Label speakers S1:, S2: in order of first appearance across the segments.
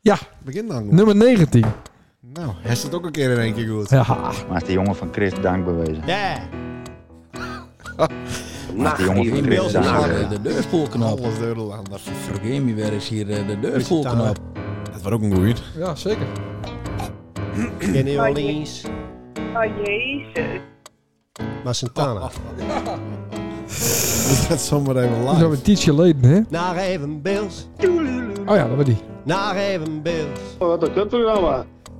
S1: Ja,
S2: Begin dan.
S1: nummer 19.
S2: Nou, hij staat ook een keer in één keer goed.
S1: Ja.
S3: Maar is de jongen van Chris dank bewezen.
S4: Ja.
S3: die jongen
S5: hier
S3: van
S5: in
S3: Drenthe
S5: beeld
S3: daar,
S5: naar,
S3: ja.
S5: eh, de deurpoelknop.
S2: Alles deurde aan. Dat
S5: Vergeet me weer eens hier eh, de deurpoelknop.
S2: was ook een goeie.
S1: ja, zeker.
S4: In New Orleans.
S6: Oh jezus.
S4: Maar
S2: Oh,
S4: Santana.
S2: Dat is zomaar even
S1: Dat is alweer
S2: live.
S1: een tietje geleden, hè?
S4: Naar even Bills.
S1: Oh ja, dat was die.
S4: Naar even Bills.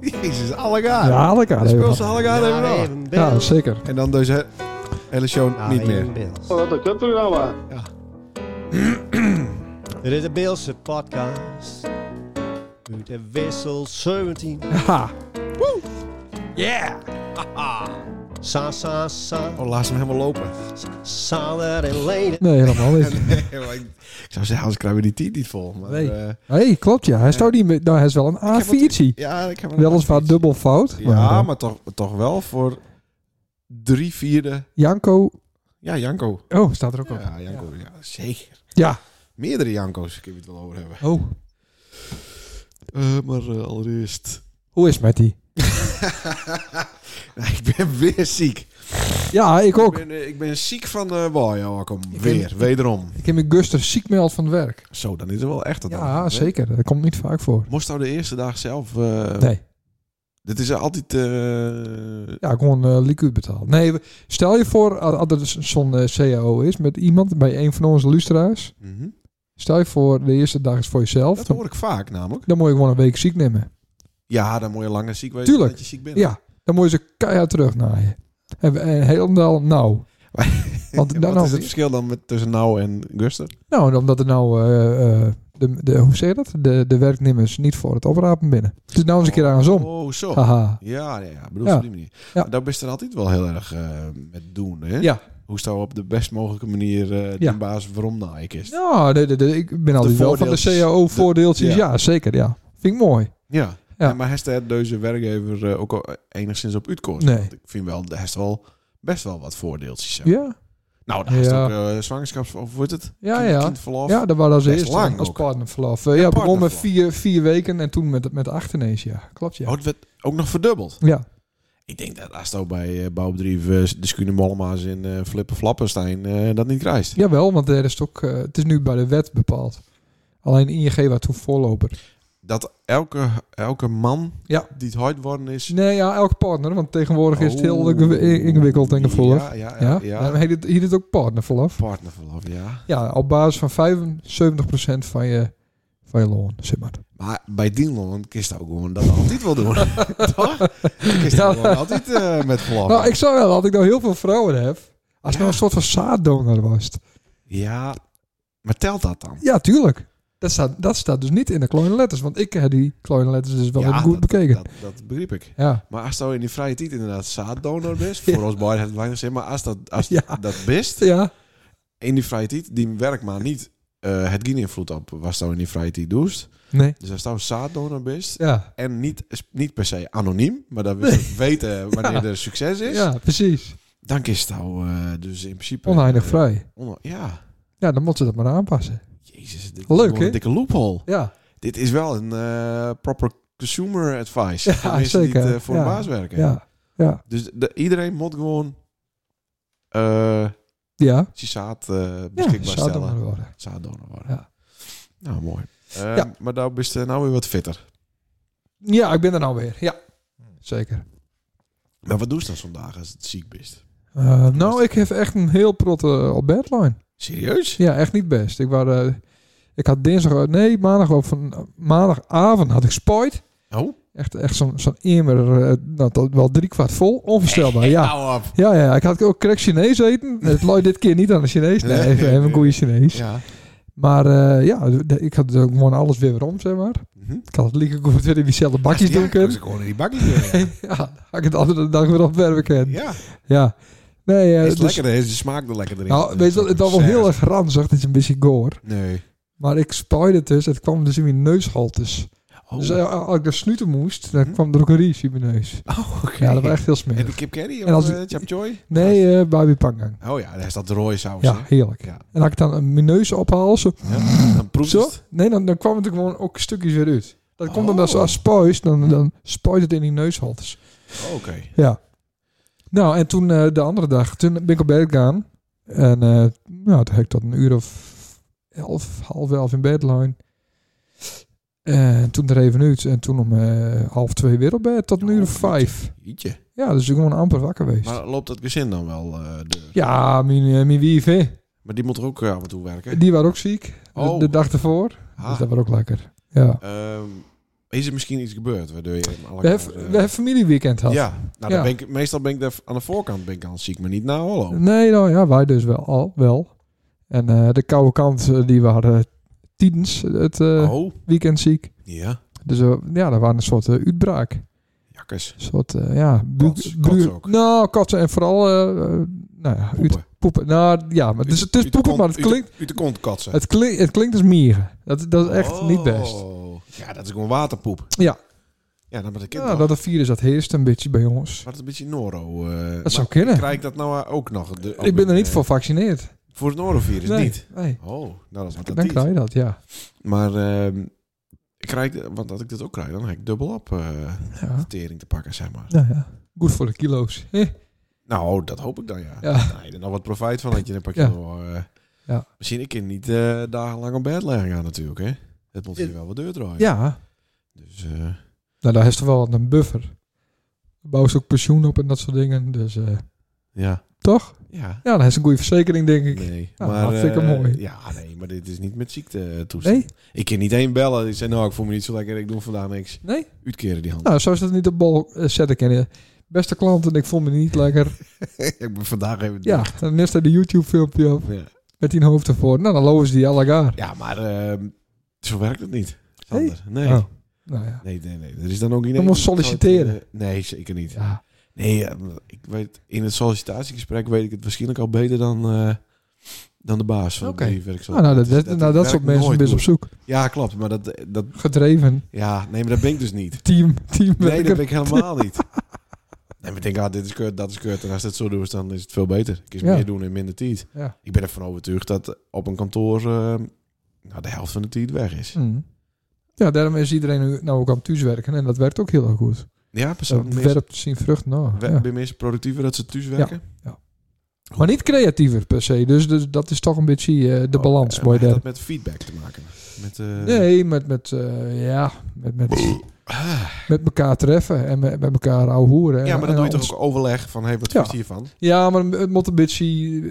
S2: Jezus, alle gaan.
S1: Ja, haal ik aan.
S2: Dus
S1: even.
S2: speel ze alle gaan even
S4: Naar
S2: nog.
S4: even
S1: Ja,
S4: Bills.
S1: zeker.
S2: En dan deze hele show
S4: Naar
S2: niet
S4: even
S2: meer.
S4: Bills.
S2: Ja.
S4: Dit is de Beelse podcast. Uit de wissel 17.
S1: Haha.
S4: Sa, sa, sa.
S2: Oh, laat ze hem helemaal lopen.
S4: Sander en Lene.
S1: Nee, helemaal niet.
S2: Maar ik ik zou zeggen, anders krijgen we die tiet niet vol. Maar,
S1: Nee.
S2: eh,
S1: hey, klopt ja. Hij, staat niet meer, nou, hij is wel een
S2: heb
S1: A4'tje.
S2: ja, ik heb hem
S1: Weliswaar dubbel fout.
S2: Ja,
S1: eh,
S2: maar toch, toch wel voor drie vierde.
S1: Janko...
S2: Ja, Janko.
S1: Oh, staat er ook op.
S2: Ja, Janko. Ja, zeker.
S1: Ja.
S2: Meerdere Janko's kunnen we het wel over hebben.
S1: Oh,
S2: Eh, maar eh, allereerst.
S1: hoe is het met die?
S2: Nou, ik ben weer ziek.
S1: Ja, ik
S2: Ik
S1: ook.
S2: ben, eh, ik ben ziek van de boy. Oh, kom.
S1: Ik
S2: Weer, wederom.
S1: Ik heb me Guster ziek meld van het werk.
S2: Zo, dan is het wel echt. dat dan,
S1: Ja,
S2: hè?
S1: zeker. Dat komt niet vaak voor.
S2: Moest nou de eerste dag zelf... eh,
S1: Nee.
S2: Dit is altijd... eh,
S1: Ja, gewoon eh liquid betaald. Nee, we- stel je voor als als er z- zo'n eh, CAO is met iemand bij een van onze luisteraars.
S2: mhm.
S1: Stel je voor, de eerste dag is voor jezelf.
S2: Dat
S1: Dan,
S2: hoor ik vaak namelijk.
S1: dan moet je gewoon een week ziek nemen.
S2: Ja, dan moet je langer ziek wezen
S1: Tuurlijk.
S2: dat je ziek bent.
S1: Ja, dan moet je ze keihard terugnaaien. En, we- en helemaal nou. Want
S2: En
S1: dan
S2: Wat is
S1: nou,
S2: het verschil dan met, tussen nou en Guster?
S1: nou, omdat er nou, eh, eh, de, de, hoe zeg je dat? De, de werknemers niet voor het oprapen binnen. Het is nou eens een keer aan zon.
S2: Oh, zo.
S1: Haha.
S2: Ja, ja, ja. Bedoel
S1: Ja.
S2: op die manier.
S1: Ja.
S2: Daar best er altijd wel heel erg eh, met doen, hè?
S1: Ja.
S2: Hoe staan we op de best mogelijke manier eh
S1: Ja.
S2: de baas waarom nou ik is?
S1: Ja, de, de, de- ik ben altijd wel van de
S2: voordeeltjes.
S1: CAO-voordeeltjes.
S2: De- ja.
S1: ja. zeker. Ja. Vind ik mooi.
S2: Ja.
S1: Ja.
S2: En maar heeft de- deze werkgever eh, ook al enigszins op uitkomst?
S1: Nee.
S2: Want ik vind wel, hij heeft wel best wel wat voordeeltjes. ja.
S1: Ja,
S2: Nou, daar is
S1: Ja.
S2: ook eh zwangerschaps... Of wordt het?
S1: ja,
S2: Kind-
S1: ja.
S2: kindverlof.
S1: Ja, dat was als
S2: Best
S1: eerste
S2: lang
S1: als
S2: ook.
S1: partnerverlof. Eh, ja, begon met
S2: partnerverlof.
S1: vier, vier weken en toen met, met acht ineens. Ja, klopt ja.
S2: Oh, het werd ook nog verdubbeld.
S1: Ja,
S2: Ik denk dat als het ook bij eh bouwbedrijf eh, de Skune Mollema's in eh Flippen Flappenstein eh, dat niet krijgt.
S1: jawel, want er is ook, eh, het is nu bij de wet bepaald. Alleen ING was toen voorloper.
S2: Dat elke, elke man
S1: Ja.
S2: die het hard worden is...
S1: Nee, ja, elk partner, want tegenwoordig is het heel
S2: Oh.
S1: ingewi- ingewikkeld en gevoelig.
S2: Ja, ja,
S1: Ja,
S2: ja.
S1: Dan heet het, heet het ook partnerverlof.
S2: Partnerverlof, ja.
S1: Ja, op basis van 75% van je, van je loon, zeg maar.
S2: Maar bij Dienland kist ook gewoon dat altijd wel doen. Toch? Kist
S1: Ja.
S2: gewoon altijd eh, met verlof.
S1: Nou, ik zou wel, had ik nou heel veel vrouwen heb, als
S2: Ja.
S1: nou een soort van zaaddonor was.
S2: Ja, maar telt dat dan?
S1: Ja, tuurlijk. Dat staat, dat staat dus niet in de kleine letters. Want ik heb die kleine letters dus wel
S2: ja,
S1: even goed
S2: dat-
S1: bekeken.
S2: Dat, dat begreep ik.
S1: ja.
S2: Maar als dat in die vrije tijd inderdaad zaaddonor bent,
S1: Ja.
S2: voor ons beiden heeft het weinig zin, maar als dat, als
S1: Ja.
S2: dat best,
S1: ja,
S2: in die vrije tijd, die werkt maar niet, eh, het geen invloed op wat zo in die vrije tijd doest.
S1: nee.
S2: Dus als dat zaaddonor bent,
S1: Ja,
S2: en niet, niet per se anoniem, maar dat we weten wanneer er succes is,
S1: ja precies.
S2: dan is het nou eh, dus in principe...
S1: Oneindig
S2: eh,
S1: vrij.
S2: on- ja.
S1: Ja, dan moeten ze dat maar aanpassen.
S2: Jezus, dit
S1: Leuk,
S2: is wel
S1: hè?
S2: een dikke loophole.
S1: Ja,
S2: Dit is wel een eh, proper consumer advice.
S1: Ja,
S2: voor mensen die
S1: zeker.
S2: het, eh, voor
S1: Ja.
S2: de baas werken.
S1: ja, ja.
S2: Dus de- iedereen moet gewoon eh
S1: Ja,
S2: zijn zaad eh,
S1: ja
S2: beschikbaar
S1: zou dat maar
S2: stellen.
S1: worden.
S2: Zaaddonor worden.
S1: Ja.
S2: Nou, mooi. Eh,
S1: Ja.
S2: Maar daar ben je nou weer wat fitter.
S1: Ja, ik ben er nou weer. Ja, zeker.
S2: Maar wat doe je dan vandaag als het ziek bent?
S1: Eh, nou, ik heb echt een heel protte op bedline.
S2: Serieus?
S1: Ja, echt niet best. Ik, was, eh, ik had dinsdag, eh, nee, maandag, geloof ik, van, eh, maandagavond had ik spijt.
S2: Oh?
S1: Echt, echt zo'n zo'n emmer, eh, nou, tot wel drie kwart vol. Onvoorstelbaar, ja.
S2: Hou op.
S1: Ja, ja, ik had ook correct Chinees eten. Het looit dit keer niet aan de Chinees. Nee,
S2: Nee.
S1: even, even een goede Chinees.
S2: Ja.
S1: Maar eh, ja, de- ik had ook gewoon alles weer weer om, zeg maar.
S2: Mhm.
S1: Ik had het liever goed weer in diezelfde bakjes
S2: Ja,
S1: doen
S2: dan
S1: kunnen.
S2: is ik gewoon in die bakjes weer.
S1: Ja, dan had ik het andere dag weer opwerpen kunnen. Ja.
S2: Ja,
S1: Nee, eh,
S2: is
S1: dus,
S2: lekker. Is de smaak er lekker erin?
S1: nou, weet je, dat- het was wel heel erg ranzig. Het is een beetje goor.
S2: Nee.
S1: Maar ik spaaide het dus. Het kwam dus in mijn neushaltes.
S2: Oh,
S1: Dus eh, als ik er snoeten moest, dan
S2: Hm?
S1: kwam er ook een ries in mijn neus.
S2: oh, oké.
S1: Ja, dat was echt heel
S2: En
S1: smerig.
S2: de kip curry
S1: En
S2: of
S1: als-
S2: eh, chap choy?
S1: Nee, eh Babi Pangang.
S2: Oh ja, daar is dat rode saus.
S1: Ja,
S2: hè?
S1: heerlijk.
S2: Ja.
S1: En als ik dan eh, mijn neus ophaal, zo
S2: Ja, Dan proef je
S1: Zo?
S2: het. Oh.
S1: Nee, dan, dan kwam het er gewoon ook stukjes weer uit. Dat komt omdat ze als spuist, dan, dan spuit het in die neushaltes.
S2: Oh, Oké.
S1: Ja. Nou, en toen eh, de andere dag, toen ben ik op bed gegaan. En eh, nou, toen heb ik tot een uur of elf, half elf in bed liggen. En toen er even uit. En toen om eh, half twee weer op bed, tot een uur of vijf.
S2: Ietje.
S1: Ja, dus ik ben gewoon amper wakker geweest.
S2: Oh, Maar loopt dat gezin dan wel eh deur?
S1: Ja, mijn, eh, mijn wief, hè.
S2: Maar die moet er ook eh, af en toe werken.
S1: Die was ook ziek.
S2: Oh.
S1: De, de dag ervoor.
S2: Ah,
S1: Dus dat was ook lekker. Ja.
S2: ehm, is er misschien iets gebeurd waardoor je hem alle
S1: We
S2: kanten,
S1: hebben
S2: eh,
S1: we hebben familieweekend gehad.
S2: Ja, nou, dan
S1: Ja.
S2: Ben ik, meestal ben ik daar aan de voorkant ben ik al ziek, maar niet na Hollo.
S1: Nee, nou ja, wij dus wel. Al, wel. En eh, de koude kant, eh, die waren tijdens het eh,
S2: oh,
S1: weekend ziek.
S2: ja.
S1: Dus eh, ja, dat waren een soort eh, uitbraak.
S2: Jakkes.
S1: Een soort, eh, ja... buik-
S2: Kots-
S1: buik-
S2: kots ook.
S1: Nou, kotsen en vooral... eh, eh, nou ja, uit-
S2: Poepen.
S1: poepen. Nou ja, maar het is, het is
S2: Uit de
S1: poepen,
S2: kont-
S1: maar het
S2: uit de-
S1: klinkt,
S2: Uit de kont katsen.
S1: het klinkt, het klinkt als mieren. Dat, dat is echt niet best.
S2: Oh, Ja, dat is gewoon waterpoep.
S1: Ja.
S2: Ja, dan ben ik kind
S1: Ja,
S2: toch.
S1: dat het virus dat heerst een beetje bij ons.
S2: Wat een beetje noro. eh, maar
S1: Dat zou kunnen.
S2: Krijg ik dat nou eh, ook nog? De-
S1: Ik ben er niet
S2: eh,
S1: voor gevaccineerd.
S2: Voor het norovirus,
S1: nee,
S2: niet?
S1: Nee.
S2: Oh, nou dat is wat dat
S1: Dan
S2: niet.
S1: krijg je dat, ja.
S2: Maar ehm, ik krijg, want als ik dat ook krijg, dan heb ik dubbel op eh
S1: ja.
S2: tering te pakken, zeg maar.
S1: Nou ja, goed voor de kilo's. hè?
S2: Nou, dat hoop ik dan, ja.
S1: Ja.
S2: Nou, je er nog wat profijt van had je een pakje.
S1: Ja.
S2: nog, eh,
S1: Ja.
S2: Misschien ik kan niet eh, dagenlang op bed liggen gaan natuurlijk, hè. Het moet hier wel wat deur draaien.
S1: ja.
S2: Dus, eh,
S1: Nou, daar is toch wel wat een buffer. Bouw ze ook pensioen op en dat soort dingen. Dus eh,
S2: ja.
S1: toch?
S2: Ja.
S1: Ja, dat is een goede verzekering, denk ik.
S2: Nee,
S1: Nou,
S2: maar...
S1: hartstikke
S2: eh,
S1: mooi.
S2: Ja, nee, maar dit is niet met ziekte eh, toestand.
S1: Nee?
S2: Ik kan niet één bellen. Die zei, nou, ik voel me niet zo lekker. Ik doe vandaag niks.
S1: Nee?
S2: Uitkeren die hand.
S1: Nou, zo is dat niet op bol eh, zetten kennen. Beste klanten, ik voel me niet lekker.
S2: ik ben vandaag even...
S1: Oh. Ja, dan is er de YouTube-filmpje op
S2: Ja,
S1: met die hoofd ervoor. Nou, dan lopen ze die allegaar.
S2: Ja, maar ehm, zo werkt het niet. Sander. Nee.
S1: Oh. Nou ja.
S2: nee, nee, nee. Er is dan ook niet...
S1: Dan
S2: één
S1: moet
S2: iemand die het,
S1: solliciteren.
S2: eh, nee, zeker niet.
S1: ja.
S2: Nee, eh, ik weet, in het sollicitatiegesprek weet ik het waarschijnlijk al beter dan, eh, dan de baas van
S1: Oké.
S2: die Dus werkzaam.
S1: Nou, nou, dat, dat, nou, dat soort mensen ben je op zoek.
S2: Ja, klopt. Maar dat, dat...
S1: Gedreven.
S2: Ja, nee, maar dat ben ik dus niet.
S1: Team. Team.
S2: Nee, dat ben ik helemaal niet. Nee, maar ik denk, ah, dit is kut, dat is kut. En als dat zo doet, dan is het veel beter. Ik is
S1: Ja.
S2: meer doen in minder tijd.
S1: Ja.
S2: Ik ben ervan overtuigd dat op een kantoor eh, nou, de helft van de tijd weg is.
S1: Mm. Ja, daarom is iedereen nu nou ook aan het thuiswerken. En dat werkt ook heel erg goed.
S2: Ja,
S1: Dat
S2: persoonlijk. Mensen,
S1: werpt zien vrucht. Nou,
S2: we-
S1: ja.
S2: ben je mensen productiever dat ze thuis werken?
S1: Maar niet creatiever per se. Dus, dus dat is toch een beetje eh, de
S2: Oh,
S1: balans.
S2: eh,
S1: mooi
S2: maar heeft
S1: daar.
S2: dat met feedback te maken? Met, eh,
S1: Nee, met, met, eh, ja, met, met,
S2: Ah,
S1: met elkaar treffen en met, met elkaar ouwehoeren.
S2: ja, maar
S1: En
S2: dan doe je toch
S1: ons-
S2: ook overleg van, hé, hey, wat
S1: Ja.
S2: vind je hiervan?
S1: Ja, maar het moet een beetje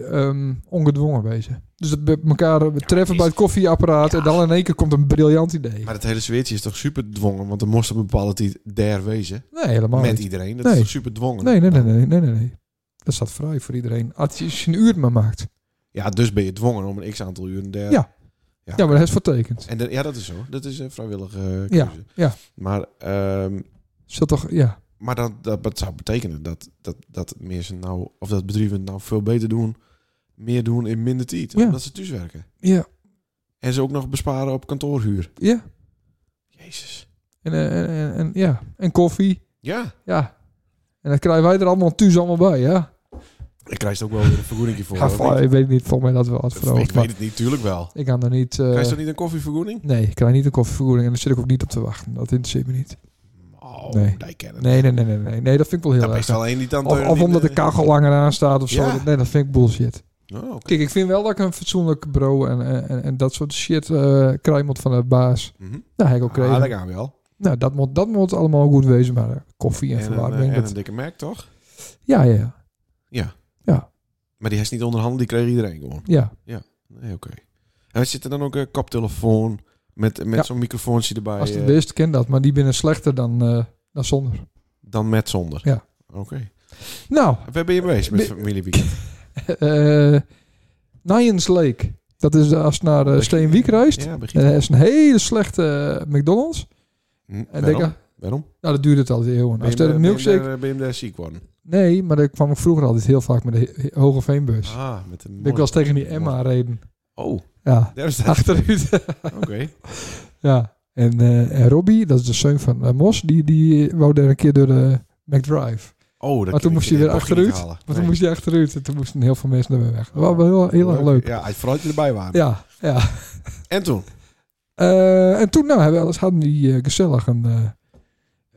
S1: ehm ongedwongen wezen. Dus dat we elkaar eh, treffen
S2: is-
S1: bij het koffieapparaat en dan in één keer komt een briljant idee.
S2: Maar dat hele zweertje is toch super dwongen? Want er moest op een bepaalde tijd daar wezen.
S1: nee, helemaal
S2: met
S1: niet.
S2: iedereen. Dat is
S1: Nee.
S2: toch super dwongen?
S1: Nee, nee, nee, nee, nee, nee, nee. Dat staat vrij voor iedereen. Als je als je een uur maar maakt.
S2: Ja, dus ben je dwongen om een x-aantal uren daar...
S1: Ja.
S2: Ja.
S1: Ja, maar dat is vertekend.
S2: En dat- ja, dat is zo. Dat is een vrijwillige eh,
S1: Ja,
S2: keuze.
S1: ja.
S2: Maar, ehm,
S1: Zult toch, ja.
S2: maar dat, dat, dat zou betekenen dat, dat, dat mensen nou, of dat bedrijven het nou veel beter doen, meer doen in minder tijd.
S1: Ja.
S2: Omdat ze thuis werken.
S1: Ja,
S2: En ze ook nog besparen op kantoorhuur.
S1: ja.
S2: Jezus.
S1: En, eh, en, en, en- ja. en koffie.
S2: Ja,
S1: Ja. En dat krijgen wij er allemaal thuis allemaal bij, ja.
S2: ik krijg er ook wel weer een vergoeding voor.
S1: Ga
S2: hoor.
S1: voor, ik weet niet, volgens mij dat wel wat
S2: ik, ik
S1: verhoogd.
S2: weet
S1: Maar
S2: het niet, tuurlijk wel.
S1: ik kan er niet... eh,
S2: Krijg je toch niet een koffievergoeding?
S1: Nee, ik krijg niet een koffievergoeding en daar zit ik ook niet op te wachten. Dat interesseert me niet.
S2: Oh,
S1: Nee.
S2: die kennen
S1: Nee, nee, nee, nee. Nee, nee dat vind ik wel
S2: Dat
S1: heel
S2: is
S1: erg.
S2: wel één die dan...
S1: Of, of omdat de kachel langer aan staat of zo.
S2: Ja.
S1: Nee, dat vind ik bullshit.
S2: Oh, oké.
S1: Kijk, ik vind wel dat ik een fatsoenlijk bureau en, en, en- en dat soort shit eh krijg moet van de baas.
S2: Mhm.
S1: Nou, heb ik ook gekregen.
S2: Ah, dat gaan we wel.
S1: Nou, dat moet, dat moet allemaal goed wezen, maar eh, koffie en,
S2: En, een, eh,
S1: verwarming.
S2: en
S1: dat-
S2: een dikke merk, toch?
S1: Ja, ja, ja.
S2: Maar die is niet onderhanden, die kreeg iedereen gewoon.
S1: ja.
S2: Nee, oké. En zit er dan ook een koptelefoon met, met
S1: Ja.
S2: zo'n microfoontje erbij
S1: Als het
S2: eh,
S1: wist, ken dat. Maar die binnen slechter dan, eh, dan zonder.
S2: dan met zonder?
S1: Ja.
S2: Oké.
S1: Nou,
S2: Waar ben je bezig met
S1: Bi-
S2: familieweekend?
S1: eh Nions Lake. Dat is als je naar eh, Steenwijk reist.
S2: Ja, begin.
S1: En dat is een hele slechte eh, McDonald's.
S2: Hm,
S1: En
S2: waarom?
S1: denk, eh,
S2: waarom?
S1: nou, dat duurt het altijd eeuwen.
S2: Ben
S1: Als
S2: je,
S1: er
S2: hem
S1: een
S2: daar- ben, je hem
S1: milkshake...
S2: daar, eh, ben je hem daar ziek worden?
S1: Nee, maar ik kwam ik vroeger altijd heel vaak met de he- Hoge Veenbus.
S2: Ah, met een
S1: ben ik wel eens tegen die Emma reden.
S2: Oh,
S1: Ja,
S2: daar staat
S1: achteruit.
S2: Oké.
S1: ja. En, eh, en Robbie, dat is de zoon van eh, Mos, die, die wou daar een keer door de McDrive.
S2: Oh, dat
S1: Maar toen moest je weer achteruit.
S2: Maar
S1: Maar toen moest je achteruit en toen moesten heel veel mensen er weer weg. Dat was wel heel, heel erg leuk.
S2: Ja, als- vooral dat je erbij waren.
S1: Ja, ja.
S2: En toen?
S1: Eh, en toen nou, hebben we alles, hadden die eh, gezellig een, eh,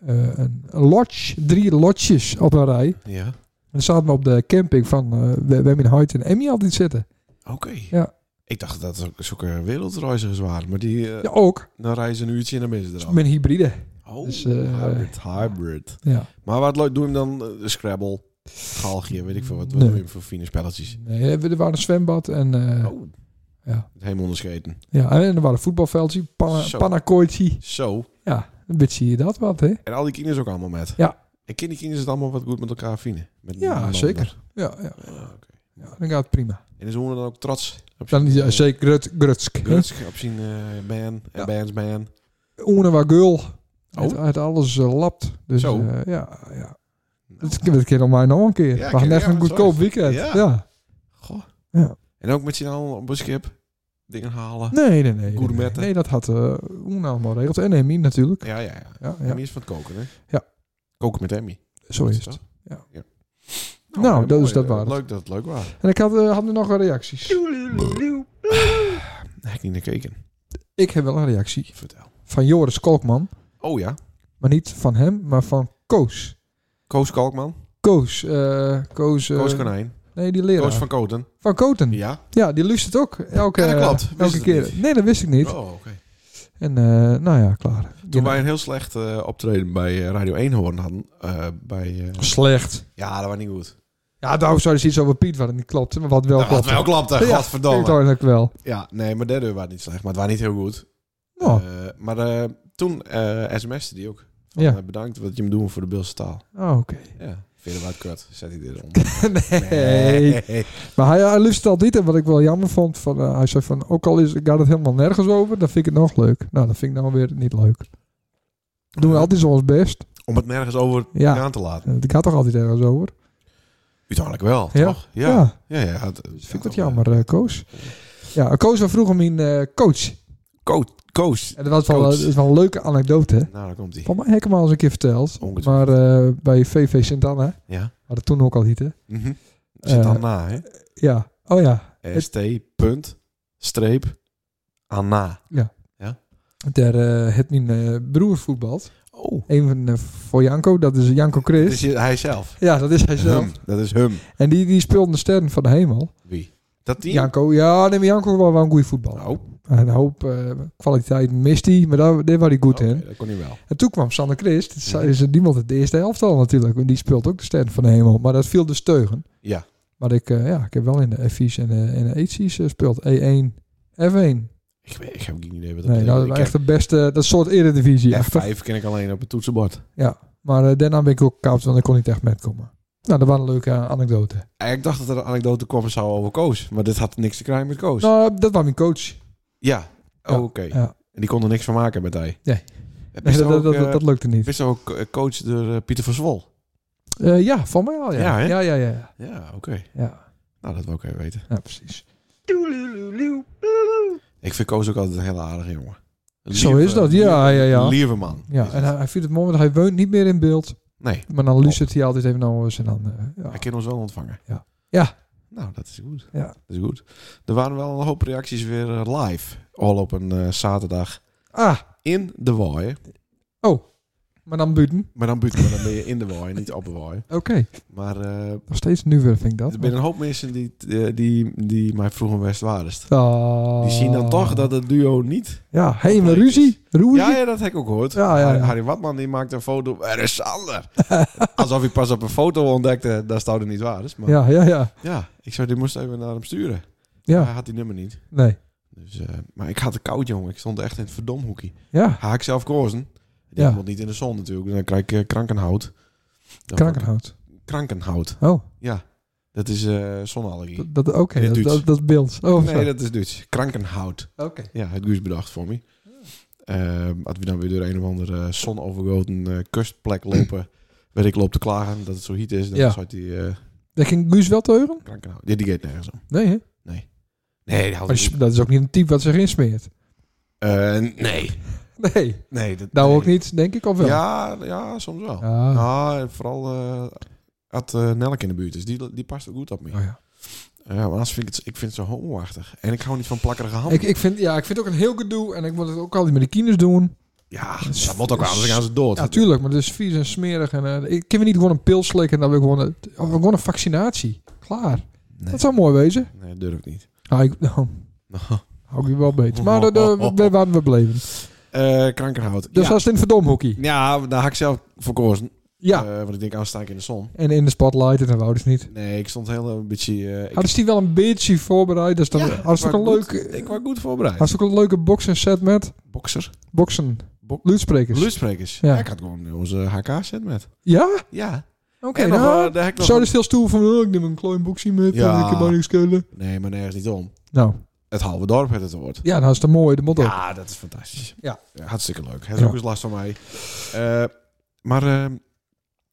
S1: eh, een lodge, drie lodges op een rij.
S2: Ja.
S1: En dan zaten we op de camping van eh Wemmin Hoyt en Emmy altijd zitten.
S2: Oké.
S1: Ja.
S2: Ik dacht dat het ook zulke wereldreizigers waren, maar die eh,
S1: Ja, ook.
S2: dan reizen een uurtje en dan ben je er al.
S1: Met een hybride.
S2: Oh,
S1: dus, eh,
S2: hybrid, hybrid.
S1: Ja.
S2: Maar wat leuk, doe hem dan eh, Scrabble, Galgië, weet ik veel wat. Wat
S1: Nee.
S2: doe je hem voor fine spelletjes?
S1: Nee, er waren een zwembad en, eh,
S2: oh.
S1: ja.
S2: Helemaal onderscheten.
S1: ja, en er waren voetbalveldjes, panna,
S2: Zo.
S1: pannakooitje.
S2: Zo.
S1: Ja, een beetje hier dat wat, hè?
S2: En al die kinderen ook allemaal met.
S1: Ja.
S2: En kinderen kinderen het allemaal wat goed met elkaar vinden. Met
S1: Ja,
S2: elkaar.
S1: zeker. Ja, ja.
S2: Ah, oké.
S1: ja dan gaat het prima.
S2: En is Hoorn dan ook trots op
S1: Dan
S2: zijn,
S1: is
S2: eh,
S1: ja, zeker Grut, Grutsk. hè?
S2: Grutsk, op zijn eh, band en
S1: Ja.
S2: bands band.
S1: Oene waar geul.
S2: Oh.
S1: Uit, uit alles eh, lapt. Dus
S2: Zo.
S1: eh, ja, ja. Dat dat keer om mij nog een keer.
S2: Ja,
S1: We gaan
S2: keer-
S1: echt
S2: ja,
S1: een goedkoop
S2: sorry.
S1: weekend.
S2: Ja.
S1: Ja.
S2: Goh.
S1: Ja.
S2: En ook met z'n allen op een schip dingen halen.
S1: Nee, nee, nee. Nee,
S2: Gourmetten.
S1: nee dat had eh Oene allemaal regeld. En Emmy natuurlijk.
S2: Ja, ja, ja.
S1: Ja, ja.
S2: Emmy is van het koken, hè?
S1: Ja.
S2: Koken met Emmy.
S1: Zo is
S2: toch?
S1: het. Ja.
S2: Nou,
S1: Nou,
S2: eh,
S1: dat is
S2: mooi.
S1: dat
S2: Eh,
S1: waar.
S2: Leuk dat het leuk was.
S1: En ik had, eh, had nu nog wel reacties.
S2: Heb ik niet naar gekeken.
S1: Ik heb wel een reactie.
S2: Vertel.
S1: Van Joris Kolkman.
S2: Oh ja,
S1: Maar niet van hem, maar van Koos.
S2: Koos Kalkman.
S1: Koos. eh, Koos, eh,
S2: Koos Konijn.
S1: Nee, die leraar.
S2: Koos
S1: van...
S2: van Koten.
S1: Koten. Ja.
S2: Ja.
S1: die luistert ook. Elke,
S2: Ja, dat klopt. Wist
S1: elke
S2: het
S1: keer.
S2: niet.
S1: Nee, dat wist ik niet.
S2: Oh, oké.
S1: En eh, nou ja, klaar.
S2: Toen wij een heel slecht eh, optreden bij eh, Radio 1 horen hadden. eh, bij, eh,
S1: Slecht.
S2: ja, dat was niet goed.
S1: Ja, daarom zou je iets over Piet wat niet klopte, maar wat wel
S2: dat
S1: klopte.
S2: was Nou, wel klapte,
S1: Ja, Ik
S2: godverdomme.
S1: dacht eigenlijk wel.
S2: Ja, nee, maar derde was niet slecht. Maar het was niet heel goed.
S1: Nou,
S2: Eh, maar eh, toen eh sms'te die ook. Van,
S1: Ja.
S2: eh, bedankt wat je me doet voor de Beelse taal.
S1: oh, oké.
S2: Ja. Vind je dat wat kut? Zet hij dit om.
S1: nee. Maar hij, hij luistert al dit en wat ik wel jammer vond, van, eh, hij zei van, ook al is, gaat het helemaal nergens over, dan vind ik het nog leuk. Nou, dat vind ik nou weer niet leuk. Doen we altijd zo ons best.
S2: Om het nergens over
S1: Ja.
S2: aan te laten.
S1: Eh, Het gaat toch altijd ergens over?
S2: Uiteindelijk wel,
S1: Ja.
S2: toch? Ja.
S1: Ja.
S2: Ja, ja. het-
S1: Dus vind ik wat
S2: ja,
S1: jammer, eh, Koos. Ja, Koos was vroeger mijn eh, coach.
S2: Coach. Coach.
S1: En dat was wel, eh,
S2: Coach.
S1: dat is wel een leuke anekdote, hè?
S2: Nou, daar komt hij.
S1: Van mij heb ik hem al eens een keer verteld. Maar
S2: Ongetwijfeld.
S1: eh, bij VV Sint-Anna,
S2: Ja.
S1: wat het toen ook al heette.
S2: Mhm. Zit dan
S1: Eh,
S2: na, hè?
S1: Ja, oh ja,
S2: ST. Punt. Streep. Anna.
S1: Daar eh heeft mijn eh, broer voetbald.
S2: Oh.
S1: Een van, eh, voor Janko, dat is Janko
S2: Dat
S1: Chris.
S2: is hij zelf.
S1: Ja, dat is hij zelf.
S2: Hem. Dat is hem.
S1: En die, die speelde de sterren van de hemel.
S2: Wie? Dat team?
S1: Janko, ja, nee, maar Janko was wel een goede voetballer.
S2: Oh,
S1: Een hoop eh, kwaliteit mist hij, maar daar, daar was hij goed
S2: oké,
S1: in.
S2: dat kon hij wel.
S1: En toen kwam Sander Christ. Dat zei- is niemand het de eerste helft al natuurlijk. Want die speelt ook de sterren van de hemel. Maar dat viel dus teugen.
S2: Ja.
S1: Maar ik, eh, ja, ik heb wel in de F's en eh, in de H's gespeeld. E E1, F1.
S2: Ik, weet, ik heb geen idee wat dat
S1: Nee,
S2: betekent.
S1: nou, dat
S2: Ik
S1: was
S2: heb-
S1: echt de beste, dat is een soort eredivisie.
S2: Ja,
S1: echt.
S2: vijf ken ik alleen op het toetsenbord.
S1: Maar eh, daarna ben ik ook kapt, want ik kon niet echt met komen. Nou, dat waren leuke eh, anekdote.
S2: Eh, Ik dacht dat er een anekdote kwam zou over Koos. Maar dit had niks te krijgen met Koos.
S1: Nou, dat was mijn coach.
S2: Ja. Oh,
S1: Ja,
S2: oké.
S1: ja.
S2: En die kon er niks van maken met hij.
S1: Nee.
S2: Eh,
S1: Nee,
S2: Wist
S1: dat,
S2: dat,
S1: dat, dat, dat lukte niet.
S2: wist ook eh, coach door eh, Pieter van Zwol?
S1: Eh, ja, van mij al, ja. Ja,
S2: Ja, hè?
S1: ja, ja, ja,
S2: Ja, oké.
S1: ja.
S2: Nou, dat wil ik even weten.
S1: Ja, precies.
S2: Ik vind Koos ook altijd een hele aardige jongen. Een
S1: Zo
S2: lieve-
S1: is dat, ja, ja, ja.
S2: Lieve man.
S1: Ja,
S2: Is
S1: en
S2: het.
S1: hij, hij vindt het mooi, want hij woont niet meer in beeld.
S2: Nee,
S1: Maar dan luistert hij altijd even naar ons en dan... eh, ja.
S2: hij kan ons wel ontvangen.
S1: Ja. Ja.
S2: Nou, dat is goed.
S1: Ja.
S2: Dat is goed. Er waren wel een hoop reacties weer eh, live. Al op een eh, zaterdag
S1: Ah,
S2: in de waai.
S1: maar dan buiten.
S2: Maar dan, buiten, maar dan ben je in de waai, niet op de waai.
S1: Oké,
S2: Maar eh,
S1: nog steeds nu weer vind ik dat.
S2: er zijn een hoop mensen die, eh, die, die mij vroegen West Waarest.
S1: Ah.
S2: Die zien dan toch dat het duo niet...
S1: Ja, hé, maar ruzie. Ruzie.
S2: Ja, ja, dat heb ik ook gehoord.
S1: Ja, ja, ja.
S2: Harry, Harry Watman die maakt een foto. Er is Sander. Alsof ik pas op een foto ontdekte. Dat zou er niet waar is. Maar ja.
S1: ja, ja, ja.
S2: ik zou die moest even naar hem sturen. Hij
S1: Ja,
S2: had die nummer niet.
S1: nee.
S2: Dus, eh, maar ik had het koud, jongen. Ik stond echt in het verdomhoekie.
S1: Ja,
S2: Haak ik zelf kozen.
S1: Ja.
S2: Ja. moet niet in de zon natuurlijk. Dan krijg ik eh, krankenhout. Dan
S1: krankenhout.
S2: Krankenhout.
S1: Oh,
S2: Ja. Dat is eh zonallergie.
S1: dat, dat, oké,
S2: In het
S1: dat,
S2: Duits.
S1: dat, dat beeld. Oh,
S2: Nee,
S1: zo.
S2: dat is Duits. Krankenhout.
S1: Oké.
S2: Ja, het Guus bedacht voor me. Eh, had we dan weer door een of andere zonovergoten eh kustplek lopen. Weet ik, loop te klagen dat het zo heet is. Dan
S1: Ja.
S2: zat die eh
S1: Dat ging Guus wel teuren?
S2: krankenhout. Ja, die gaat nergens om.
S1: Nee, hè?
S2: Nee, die
S1: Maar
S2: houdt
S1: die sp- dat is ook niet een type wat zich insmeert.
S2: Eh, nee.
S1: Nee,
S2: Nee, dat,
S1: nou
S2: nee.
S1: ook niet, denk ik, of wel?
S2: Ja, ja, soms wel. Nou, Ja.
S1: Ah.
S2: vooral eh had eh Nelk in de buurt is. Die, die past ook goed op me.
S1: Oh ja.
S2: Ja, maar anders vind ik het, ik vind het zo homoachtig. En ik hou niet van plakkerige handen.
S1: Ik, ik, vind, ja, ik vind het ook een heel gedoe. En ik moet het ook altijd met de kinders doen.
S2: ja, dat moet ook wel, anders gaan ze dood.
S1: Ja, tuurlijk. Maar het is vies en smerig. En, eh, ik kan we niet gewoon een pil slikken. En dan wil ik gewoon, een- of gewoon een vaccinatie. Klaar.
S2: Nee.
S1: Dat zou mooi wezen.
S2: nee, durf ik niet.
S1: Nou, ik, nou,
S2: Nou,
S1: hou ik je wel beter. Maar dat, eh, we- we- waar we bleven.
S2: eh, krankerhout.
S1: Dus
S2: ja.
S1: als het in het verdomhockey.
S2: ja, daar had ik zelf voor gekozen.
S1: Ja.
S2: Eh, want ik denk, aanstaan ik in de zon.
S1: En in de spotlight. En dan wou dus niet.
S2: Nee, ik stond heel een beetje... eh, ik,
S1: Hadden ze die wel een beetje voorbereid? Dus dan
S2: Ja,
S1: als ik
S2: maar
S1: een
S2: goed.
S1: leuke,
S2: ik was goed voorbereid.
S1: als ik een leuke boxen set met
S2: Bokser.
S1: boksen,
S2: Bo-
S1: luidsprekers.
S2: Luidsprekers.
S1: Ja.
S2: Ja. ik had gewoon onze HK-set met.
S1: ja,
S2: Ja.
S1: oké.
S2: en nog,
S1: nou,
S2: eh, daar heb ik nog
S1: zo dus heel stoel van, oh, ik neem een klein boxie met
S2: Ja.
S1: en ik heb maar niks kunnen.
S2: Nee, maar nergens niet om.
S1: Nou,
S2: Het halve dorp het het woord.
S1: ja, nou is dat mooi, de motto.
S2: Ja, dat is fantastisch.
S1: Ja.
S2: hartstikke leuk. Het is
S1: Ja.
S2: ook eens last van mij. Eh, maar eh,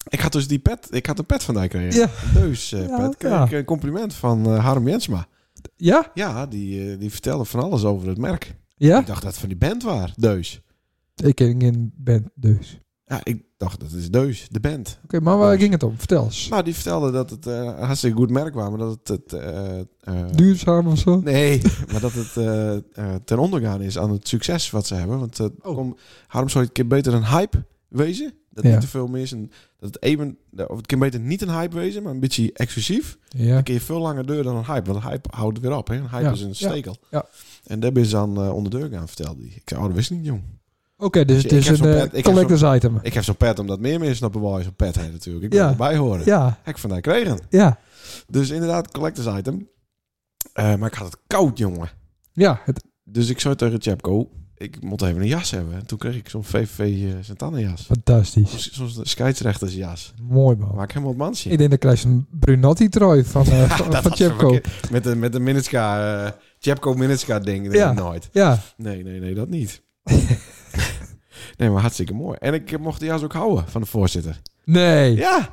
S2: ik had dus die pet. Ik had een pet vandaag gekregen.
S1: Ja.
S2: Een deus eh,
S1: Ja,
S2: pet. Kreeg
S1: ja.
S2: ik een compliment van eh, Harm Jensma.
S1: Ja?
S2: Ja, die, eh, die vertelde van alles over het merk.
S1: Ja?
S2: Ik dacht dat het van die band was. Deus.
S1: Ik ken geen band, dus. Oké,
S2: Ja, ik dacht dat is Deus, de band.
S1: maar
S2: Dus.
S1: waar ging het om? Vertel eens.
S2: Nou, die vertelde dat het eh, een hartstikke goed merk was, maar dat het... het eh, eh,
S1: Duurzaam of zo?
S2: Nee, maar dat het eh, eh, ten ondergaan is aan het succes wat ze hebben. Want eh om, waarom zou het een keer beter een hype wezen? Dat
S1: Oh. Ja.
S2: niet te veel meer is. En dat het even, of het kan beter niet een hype wezen, maar een beetje exclusief.
S1: Ja.
S2: Dan kun je veel langer deur dan een hype. Want een hype houdt het weer op. Hè? Een hype
S1: Ja.
S2: is een stekel.
S1: Ja.
S2: En daar ben ze aan eh, onder de deur gaan, vertelde hij. Ik zei, oh, dat wist ik niet, jong.
S1: Oké, dus het
S2: Ik
S1: is
S2: heb
S1: een
S2: zo'n
S1: eh,
S2: pet- ik heb
S1: collectors item.
S2: Ik heb zo'n pet omdat meer mensen snappen wel zo'n pet heeft natuurlijk. Ik
S1: Ja.
S2: wil erbij horen.
S1: Ja,
S2: Heb ik vandaag kregen.
S1: ja,
S2: Dus inderdaad, collectors item. Eh, maar ik had het koud, jongen.
S1: ja. Het,
S2: Dus ik zei tegen Chapko, ik moet even een jas hebben. En toen kreeg ik zo'n VVV eh, Santana-jas.
S1: fantastisch.
S2: Zo'n zo'n scheidsrechtersjas.
S1: Mooi, man.
S2: Maak ik helemaal het mansje.
S1: Oh. Ik denk dat krijg je een Brunotti-trui van, eh, van,
S2: Dat
S1: van
S2: was een
S1: Chepco.
S2: verkeer- Met de, met de Minitska, eh Chapko Minitska ding. Dat
S1: Ja.
S2: denk ik nooit.
S1: Ja,
S2: Nee, nee, nee, dat niet. nee, maar hartstikke mooi. En ik eh, mocht de jas ook houden van de voorzitter.
S1: nee.
S2: Ja,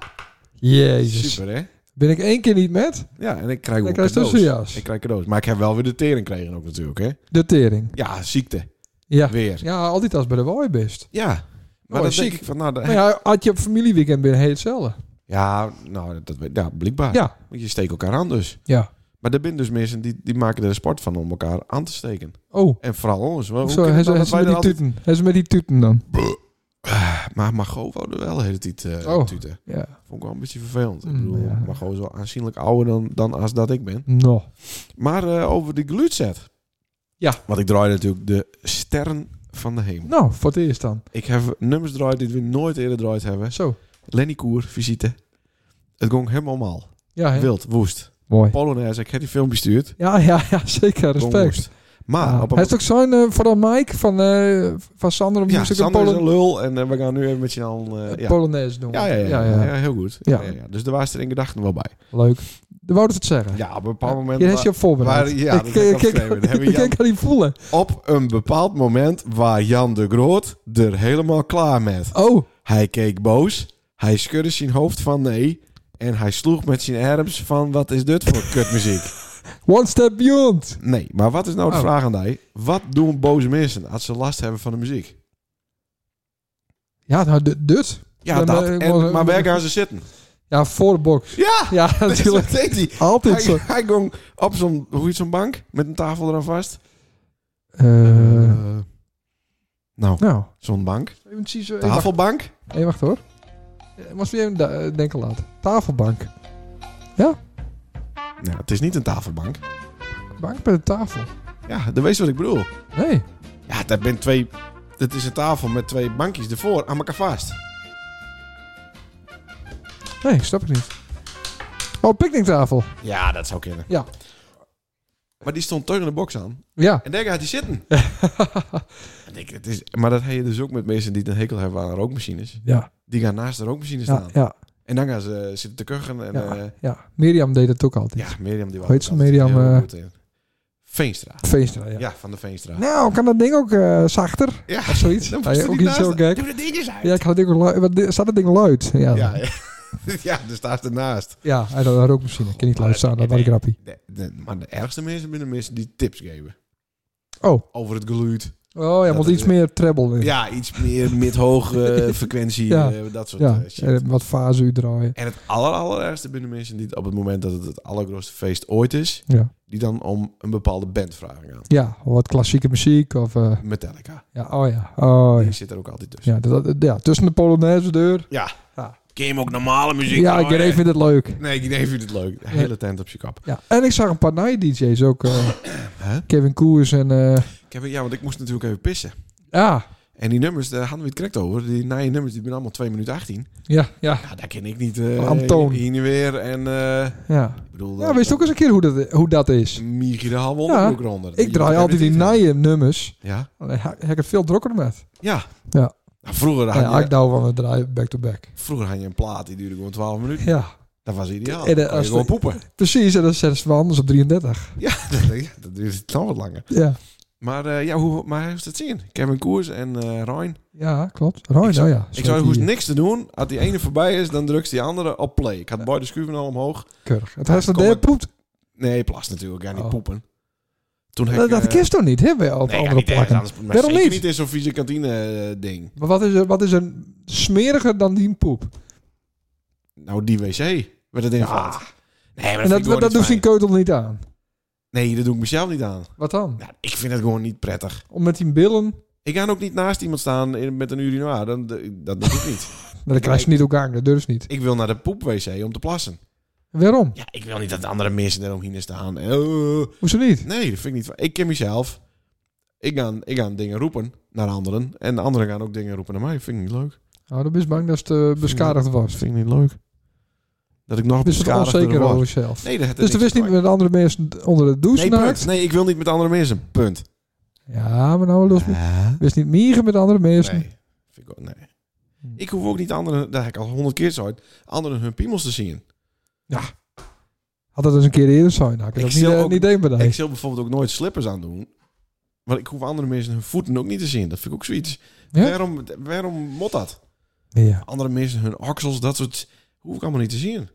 S1: Jezus.
S2: super hè.
S1: Ben ik één keer niet met?
S2: Ja, en ik krijg
S1: Dan
S2: ook
S1: krijg je
S2: cadeaus.
S1: dus een jas.
S2: Ik krijg cadeaus. Maar ik heb wel weer de tering gekregen ook natuurlijk hè.
S1: De tering.
S2: Ja, ziekte.
S1: Ja.
S2: Weer.
S1: Ja, altijd als bij de Wooi best.
S2: Ja. Maar
S1: Oh,
S2: dat
S1: ziek.
S2: denk ik van, nou, dat-
S1: Maar ja, had je op familieweekend bent, heet hetzelfde.
S2: Ja, nou, dat, weet- ja, blijkbaar.
S1: Ja.
S2: Want je steekt elkaar aan dus.
S1: Ja.
S2: Maar er zijn dus mensen die, die maken er een sport van om elkaar aan te steken.
S1: Oh.
S2: En vooral ons. Hoe
S1: Zo,
S2: kan
S1: hij
S2: het
S1: ze
S2: nou
S1: hij
S2: dat
S1: ze met
S2: wij
S1: die
S2: er altijd-
S1: tuten. Hij ze met die tuten dan.
S2: Maar Margot wou er wel de hele tijd eh,
S1: Oh.
S2: tuten.
S1: Ja.
S2: Vond ik wel een beetje vervelend. Ik
S1: Mm,
S2: bedoel,
S1: ja.
S2: Margot is wel aanzienlijk ouder dan, dan als dat ik ben.
S1: Nou.
S2: Maar eh, over de glutset.
S1: Ja.
S2: Want ik draai natuurlijk de sterren van de hemel.
S1: Nou, voor het eerst dan.
S2: Ik heb nummers draait die we nooit eerder draait hebben.
S1: Zo.
S2: Lenny Koer, visite. Het ging helemaal mal.
S1: Ja, hè?
S2: Wild, woest.
S1: Mooi.
S2: Polonaise, ik heb die film bestuurd.
S1: Ja, ja, ja, zeker.
S2: Gewoon
S1: Respect.
S2: moest. Maar
S1: Ja.
S2: Ah, op een
S1: Hij is ook zo'n, eh, vooral Mike van, eh, van Sander om
S2: ja,
S1: Music en
S2: Sander is een
S1: Polo
S2: lul en eh, we gaan nu even met je al. eh, ja.
S1: Polonaise doen.
S2: Ja, ja, ja, ja, ja, heel goed.
S1: Ja.
S2: Ja. Ja, ja. Dus daar was er in gedachten wel bij.
S1: Leuk. Dan wou ik het zeggen.
S2: Ja, op een bepaald moment.
S1: Je hebt je op voorbereid.
S2: waar- ja, dat heb ik opgeschreven. Dat hebben we
S1: ik
S2: Jan-
S1: kan niet voelen.
S2: Op een bepaald moment waar Jan de Groot er helemaal klaar met.
S1: Oh,
S2: Hij keek boos, hij schudde zijn hoofd van nee en hij sloeg met zijn arms van wat is dit voor kutmuziek?
S1: one step beyond.
S2: Nee, maar wat is nou de
S1: Oh.
S2: vraag aan mij? Wat doen boze mensen als ze last hebben van de muziek?
S1: Ja, nou, dit- dit.
S2: Ja,
S1: Dan,
S2: dat.
S1: eh,
S2: En,
S1: was-
S2: maar waar gaan ze zitten?
S1: Ja, voor de box.
S2: Ja,
S1: Ja, natuurlijk.
S2: dat deed hij.
S1: Altijd zo.
S2: Hij, hij ging op zo'n, hoe heet zo'n bank? Met een tafel eraan vast.
S1: Eh,
S2: Eh, nou,
S1: nou,
S2: zo'n bank.
S1: even precies... eh, wacht,
S2: Tafelbank.
S1: eh, wacht hoor. Eh, Moest weer even da- eh, denken laten. Tafelbank.
S2: Nou, het is niet een tafelbank.
S1: Bank bij de tafel.
S2: Ja, dat weet je wat ik bedoel.
S1: Nee.
S2: Ja, dat bent twee... Het is een tafel met twee bankjes ervoor aan elkaar vast.
S1: Nee, snap ik niet. Oh, picknicktafel.
S2: Ja, dat zou kunnen.
S1: Ja.
S2: Maar die stond terug in de box aan.
S1: Ja.
S2: En daar gaat hij zitten. En ik, het is, maar dat heb je dus ook met mensen die een hekel hebben aan rookmachines.
S1: Ja.
S2: Die gaan naast de rookmachine
S1: Ja,
S2: staan.
S1: ja,
S2: En dan gaan ze eh, zitten te kuchen. En,
S1: ja,
S2: eh,
S1: ja. Mirjam deed het ook altijd.
S2: Ja, Mirjam die was.
S1: Hoe heet ze?
S2: altijd
S1: Mirjam,
S2: heel
S1: eh,
S2: goed in. Veenstra.
S1: Feesten, ja.
S2: Ja. van de Veenstra.
S1: Nou, kan dat ding ook eh, zachter?
S2: Ja,
S1: Of zoiets?
S2: Dan
S1: Ja,
S2: moest er
S1: ook
S2: die
S1: iets zo
S2: naast-
S1: gek.
S2: Doe de dingetjes uit.
S1: Ja, ik had het ding ook lu- wat di- Staat het ding luid? Ja,
S2: ja,
S1: ja.
S2: ja. ja dus daar is ernaast.
S1: ja en dan rookmachine. Ik kan niet luisteren, dat was een grappie.
S2: De- de- maar de ergste mensen zijn de mensen die tips geven.
S1: Oh,
S2: Over het geluid.
S1: Oh ja,
S2: dat
S1: moet
S2: het-
S1: iets meer treble weer.
S2: Ja, iets meer mid-hoog eh, frequentie,
S1: Ja.
S2: eh, dat soort
S1: ja.
S2: eh, shit.
S1: en wat fase u draaien.
S2: En het aller, allerergste binnen mensen die het op het moment dat het het allergrootste feest ooit is,
S1: Ja.
S2: die dan om een bepaalde band vragen gaan.
S1: ja, wat klassieke muziek of... eh,
S2: Metallica.
S1: ja, oh ja, oh
S2: Die
S1: ja.
S2: zit er ook altijd tussen.
S1: Ja, dat, dat- ja, tussen de Polonaise deur.
S2: Kun je hem ook normale muziek Oh,
S1: Ja,
S2: horen?
S1: Geré vindt het leuk.
S2: Nee, Guinea vindt het leuk. De hele tent op je kap.
S1: Ja. En ik zag een paar night DJ's ook. eh,
S2: Hè?
S1: Kevin Koers en... eh,
S2: Ik heb, ja, want ik moest natuurlijk even pissen.
S1: ja,
S2: En die nummers, daar hadden we het correct over. Die naaie nummers, die zijn allemaal 2 minuten 18.
S1: ja, ja,
S2: Ja, daar ken ik niet. eh
S1: Antoon.
S2: Hier niet weer. En eh,
S1: ja.
S2: ik bedoel...
S1: Ja, wist ook eens een keer hoe dat, hoe dat is.
S2: Michi de Hamel
S1: Ja.
S2: ook eronder.
S1: Ik draai altijd die naaie nummers.
S2: Ja.
S1: Alleen ha- heb ik het veel drukker met.
S2: Ja.
S1: Ja.
S2: Nou, vroeger, had
S1: Ja,
S2: je,
S1: ik douw van het draaien back-to-back.
S2: vroeger had je een plaat, die duurde gewoon 12 minuten.
S1: Ja,
S2: Dat was ideaal.
S1: En, eh,
S2: Dan kon je
S1: als
S2: gewoon
S1: de-
S2: poepen.
S1: precies. En dan zetten ze van anders op 33.
S2: Ja, dat, dat duurde dan wat langer.
S1: Ja,
S2: Maar eh, ja, hoe maar heeft het zien? Kevin Koers en eh Ryan.
S1: ja klopt. Roy,
S2: Ik zou-
S1: nou ja.
S2: Ik zou hoeft
S1: die-
S2: niks te doen. Als die ene voorbij is, dan drukt die andere op play. Ik had beide schuiven al omhoog.
S1: Keurig. Het heeft een
S2: Kom
S1: derde
S2: maar.
S1: poept.
S2: Nee, plas natuurlijk. Ja, niet
S1: Oh.
S2: poepen. Toen heb
S1: Dat, dat
S2: eh,
S1: kist toch niet, hè? Bij al
S2: Nee, ja,
S1: andere
S2: niet ergens
S1: plakken.
S2: anders. Maar
S1: Waarom
S2: zeker
S1: niet?
S2: niet in zo'n vieze kantine eh, ding.
S1: Maar wat is, er, wat is er smeriger dan die poep?
S2: Nou, die wc werd het invalt. Nee, maar
S1: en dat,
S2: dat, vind ik gewoon
S1: dat,
S2: niet
S1: doet
S2: fijn.
S1: zijn keutel niet aan.
S2: Nee, dat doe ik mezelf niet aan.
S1: Wat dan?
S2: Nou, ik vind het gewoon niet prettig.
S1: Om met die billen...
S2: Ik ga ook niet naast iemand staan in- met een urinoir. Dan, dat doe ik niet.
S1: Nou, dat krijg je niet ook aan. Dat durft niet.
S2: ik wil naar de poepwc om te plassen.
S1: Waarom?
S2: Ja, ik wil niet dat de andere mensen eromheen staan. En, eh,
S1: Hoezo niet?
S2: Nee, dat vind ik niet. fijn. Ik ken mezelf. Ik ga, ik ga dingen roepen naar anderen. En de anderen gaan ook dingen roepen naar mij. Vind ik niet leuk.
S1: Nou, dan ben je bang dat het eh, beschadigd was.
S2: Dat vind ik niet leuk. Dat ik nog
S1: Dus het
S2: beschadigder
S1: onzeker
S2: word.
S1: over jezelf.
S2: Nee, dat heeft
S1: dus
S2: er
S1: er wist
S2: niks
S1: niet
S2: mee
S1: met andere mensen onder de douche
S2: te maken. Nee,
S1: naakt.
S2: punt. Nee, ik wil niet met andere mensen. Punt.
S1: Ja, maar nou los. Wist niet mieren met andere mensen.
S2: Nee. Vind ik, ook- nee.
S1: Hmm.
S2: ik hoef ook niet anderen, dat heb ik al honderd keer zo uit, anderen hun piemels te zien.
S1: Had dat eens een keer eerder zijn. Nou, ik
S2: Ik
S1: heb ik niet,
S2: stel
S1: eh,
S2: ook-
S1: niet denken bij
S2: Ik zal bijvoorbeeld ook nooit slippers aan doen. Maar ik hoef andere mensen hun voeten ook niet te zien. Dat vind ik ook zoiets.
S1: Ja?
S2: Waarom, waarom mot dat?
S1: Ja,
S2: Andere mensen hun oksels, dat soort, hoef ik allemaal niet te zien.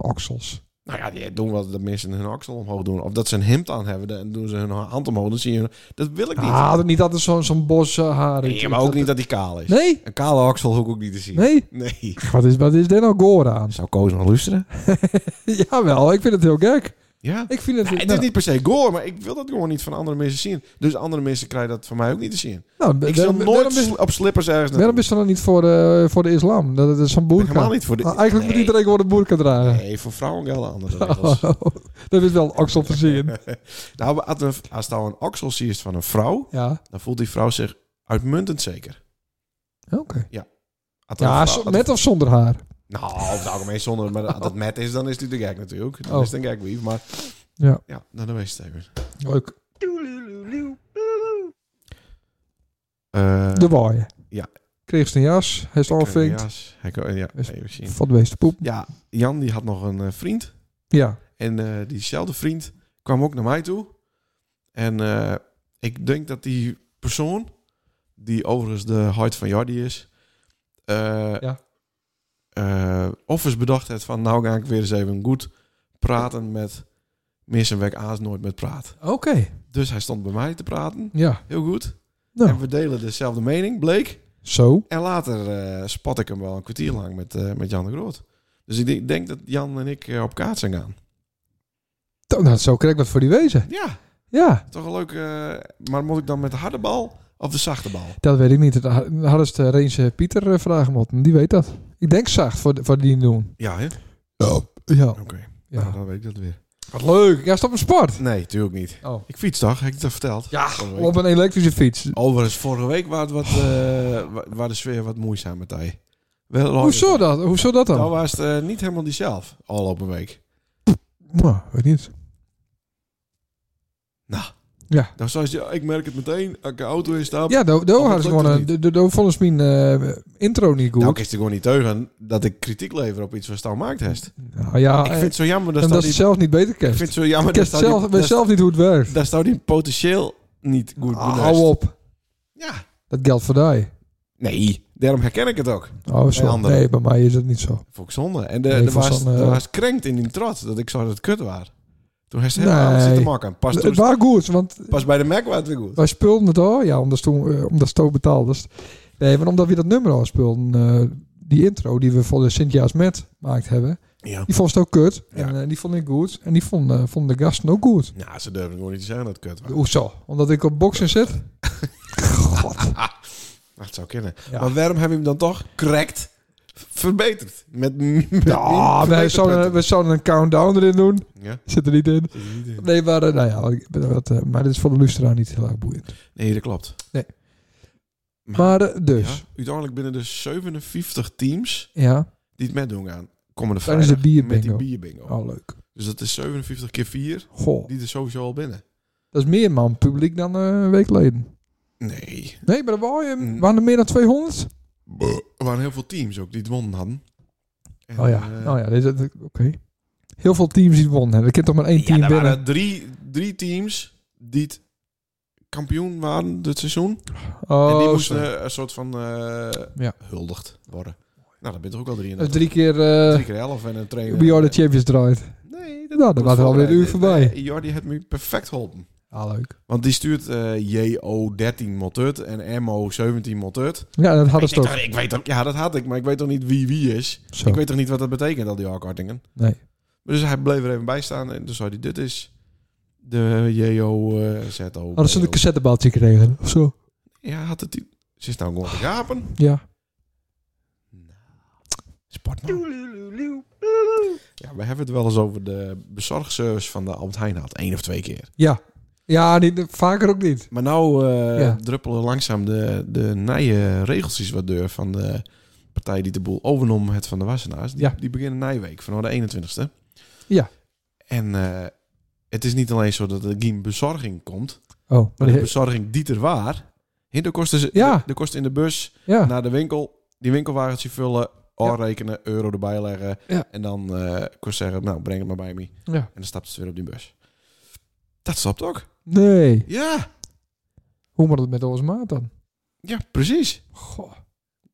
S1: oksels.
S2: Nou ja, die doen wat dat mensen hun oksel omhoog doen. Of dat ze een hemd aan hebben en doen ze hun hand omhoog. Dan zie je, dat wil ik niet.
S1: Ah, dat niet altijd zo'n zo'n bos eh, haar.
S2: nee, maar ook niet dat die kaal is.
S1: Nee?
S2: Een kale oksel hoef ik ook niet te zien.
S1: Nee?
S2: nee.
S1: Wat is, wat is daar nou gore aan?
S2: Zou Koos nog luisteren?
S1: Jawel, ik vind het heel gek.
S2: Ja.
S1: Ik vind het...
S2: Nee, het is
S1: nou,
S2: niet per se gore, maar ik wil dat gewoon niet van andere mensen zien. Dus andere mensen krijgen dat van mij ook niet te zien.
S1: nou,
S2: Ik zal
S1: waarom-
S2: nooit
S1: waarom is-
S2: sli- op slippers ergens
S1: Waarom
S2: naartoe.
S1: is dat dan niet voor, eh, voor de islam? Dat het zo'n boerka.
S2: Helemaal niet voor de...
S1: Nou, eigenlijk moet
S2: Nee.
S1: iedereen gewoon een boerka dragen.
S2: Nee, voor vrouwen gelden
S1: Oh.
S2: andere regels.
S1: dat is wel oksel te zien.
S2: nou, maar als, een- als nou een oksel ziet van een vrouw,
S1: Ja,
S2: dan voelt die vrouw zich uitmuntend zeker.
S1: oké.
S2: Als een
S1: Ja,
S2: vrouw-
S1: zo- met of zonder haar.
S2: Nou, over het algemeen zonder, maar als dat met is, dan is het de gek natuurlijk. Dan
S1: Oh.
S2: is het een gekwief, maar...
S1: Ja.
S2: Ja, nou, dan weet je het even.
S1: Leuk.
S2: Eh,
S1: De waaien.
S2: Ja.
S1: Kreeg ze een jas. Hij is afvinkt.
S2: jas, hekko- Ja,
S1: Is-
S2: even zien.
S1: Van de meeste poep.
S2: Ja, Jan die had nog een eh, vriend.
S1: Ja.
S2: En eh, diezelfde vriend kwam ook naar mij toe. En eh, ik denk dat die persoon, die overigens de huid van Jordi is, eh
S1: Ja.
S2: eh, of eens bedacht heeft van nou ga ik weer eens even goed praten met mensen waar ik aas nooit met praat.
S1: Oké.
S2: Dus hij stond bij mij te praten,
S1: Ja.
S2: heel goed.
S1: Nou.
S2: En we delen dezelfde mening, bleek.
S1: Zo.
S2: En later eh, spat ik hem wel een kwartier lang met, eh, met Jan de Groot. Dus ik denk- denk dat Jan en ik eh, op kaart zijn gaan.
S1: To- Nou, zo krijg ik wat voor die wezen.
S2: Ja,
S1: Ja.
S2: Toch een leuk. eh, maar moet ik dan met de harde bal of de zachte bal?
S1: Dat weet ik niet. Dat ha- Hadden ze de Reense Pieter eh, vragen moeten. Die weet dat. Ik denk zacht voor, de- voor die doen.
S2: Ja, hè? Oké.
S1: Ja. ja.
S2: nou, dan weet ik dat weer.
S1: Wat leuk. Ja, stop een sport.
S2: Nee, tuurlijk niet.
S1: Oh.
S2: Ik fiets toch? Heb ik dat verteld?
S1: Ja,
S2: Vorige week.
S1: op een elektrische fiets.
S2: Overigens, vorige week was, het wat, eh, wa- waar de sfeer wat moeizaam met hij. Wel,
S1: Hoezo dat? Hoezo dat dan?
S2: Dan was het eh, niet helemaal diezelfde al op een week.
S1: Nou, weet niet.
S2: Nou. Dan zou je, ik merk het meteen, als ik de auto in stap.
S1: Ja, daar daar
S2: Oh, dat
S1: hadden ze
S2: lukt
S1: gewoon
S2: het
S1: een... de- de- de- Volgens mijn eh, intro niet goed.
S2: Nou, ik is er gewoon niet teugen dat ik kritiek lever op iets wat Stan maakt heeft.
S1: Nou ja,
S2: ik
S1: eh,
S2: vind het zo jammer dat
S1: en
S2: Stan
S1: dat ze
S2: die-
S1: zelf niet beter
S2: Ik
S1: kent.
S2: vind het zo jammer
S1: Ik
S2: dat
S1: weet
S2: Stan die-
S1: zelf, weet
S2: dat-
S1: zelf niet hoe het werkt.
S2: Daar staat die potentieel niet goed
S1: Ah,
S2: benust.
S1: Hou op.
S2: Ja.
S1: Dat geldt voor die.
S2: Nee, daarom herken ik het ook.
S1: Oh, zo.
S2: Nee,
S1: Nee,
S2: anderen.
S1: bij mij is dat niet zo.
S2: Vond ik zonde. En
S1: Nee,
S2: de,
S1: ik
S2: de
S1: vond
S2: was,
S1: zo'n, eh,
S2: de was krenkt in die trots dat ik zo dat het kut was. Toen heeft ze helemaal
S1: Nee.
S2: zitten maken. Pas, toen-
S1: Het was goed, want
S2: pas bij de Mac was het weer goed.
S1: wij speelden het al. Ja, omdat toen, eh, omdat Sto betaald is. Nee, maar omdat we dat nummer al speelden. eh, die intro die we voor de Sint-Jaars Met gemaakt hebben.
S2: Ja.
S1: Die vond het ook kut.
S2: Ja.
S1: En eh, die vond ik goed. En die vond, eh, vonden de gasten ook goed.
S2: Nou, ze durven gewoon niet te zeggen dat het kut was.
S1: Hoezo? Omdat ik op boksen zit? God.
S2: Nou, het zou kunnen.
S1: Ja.
S2: Maar waarom hebben we hem dan toch correct verbeterd? Met, met
S1: Ja, we zouden, we zouden een countdown erin doen.
S2: Ja.
S1: Zit er niet in.
S2: zit er niet in.
S1: Nee, maar, eh, nou ja, ik ben er wat, eh, maar dit is voor de luisteraar niet heel erg boeiend.
S2: Nee, dat klopt.
S1: Maar eh, dus,
S2: Ja. Uiteindelijk binnen de 57 teams
S1: ja.
S2: die het meedoen gaan, komende
S1: Tijdens
S2: vrijdag.
S1: de
S2: Met
S1: bierbingo.
S2: die bierbingo.
S1: Oh, leuk.
S2: Dus dat is 57 keer 4,
S1: Goh,
S2: die er sowieso al binnen.
S1: dat is meer man publiek dan eh, een week geleden.
S2: Nee.
S1: Nee, maar er waren,
S2: Mm.
S1: waren er meer dan 200?
S2: Buh. Er waren heel veel teams ook die het wonnen hadden. En,
S1: oh ja,
S2: eh,
S1: oh ja, dit- dit- oké. Heel veel teams die wonnen. hebben. Er kan toch maar één
S2: ja,
S1: team
S2: er
S1: winnen.
S2: waren drie, drie teams die het kampioen waren dit seizoen.
S1: Oh,
S2: en die
S1: zo.
S2: moesten eh, een soort van eh
S1: Ja.
S2: huldigd worden. Nou, dat bent er ook al drie in.
S1: Dus drie keer eh
S2: drie keer elf en een trainer.
S1: We Are The Champions draait.
S2: Nee,
S1: Nou, dan was er alweer een uur voorbij.
S2: Eh, Jordi heeft me perfect geholpen.
S1: Ah, leuk.
S2: Want die stuurt eh, JO13 Motut en MO17 Motut.
S1: Ja, dat hadden ze
S2: Ik, denk
S1: toch.
S2: toch- ik weet ook, ja, dat had ik, maar ik weet toch niet wie wie is.
S1: Zo.
S2: Ik weet toch niet wat dat betekent, al die hardkartingen.
S1: Nee.
S2: Dus hij bleef er even bij staan en toen zei hij, dit is de JO eh ZO.
S1: Hadden ze een cassettebaaltje gekregen of zo?
S2: Ja, had het... Ze is nou gewoon te gapen.
S1: Ja.
S2: Sportman. Ja, we hebben het wel eens over de bezorgservice van de Albert Heijn had. Eén of twee keer.
S1: Ja, niet, vaker ook niet.
S2: Maar nou eh,
S1: Ja.
S2: druppelen langzaam de, de nije regeltjes wat deur van de partij die de boel overnam, het van de Wassenaars. Die,
S1: Ja.
S2: die beginnen nijweek vanaf de 21ste.
S1: Ja.
S2: En eh, het is niet alleen zo dat er geen bezorging komt,
S1: Oh,
S2: maar
S1: maar
S2: de
S1: die-
S2: bezorging die er waar. hè, De kosten, ze-
S1: Ja.
S2: de, de kosten in de bus,
S1: ja.
S2: naar de winkel, die winkelwagentje vullen, afrekenen, euro erbij leggen.
S1: Ja.
S2: En dan eh kost zeggen, nou breng het maar bij me.
S1: Ja.
S2: En dan stapt ze weer op die bus. Dat stapt ook.
S1: Nee.
S2: Ja,
S1: Hoe moet het met ons maat dan?
S2: ja precies.
S1: Goh.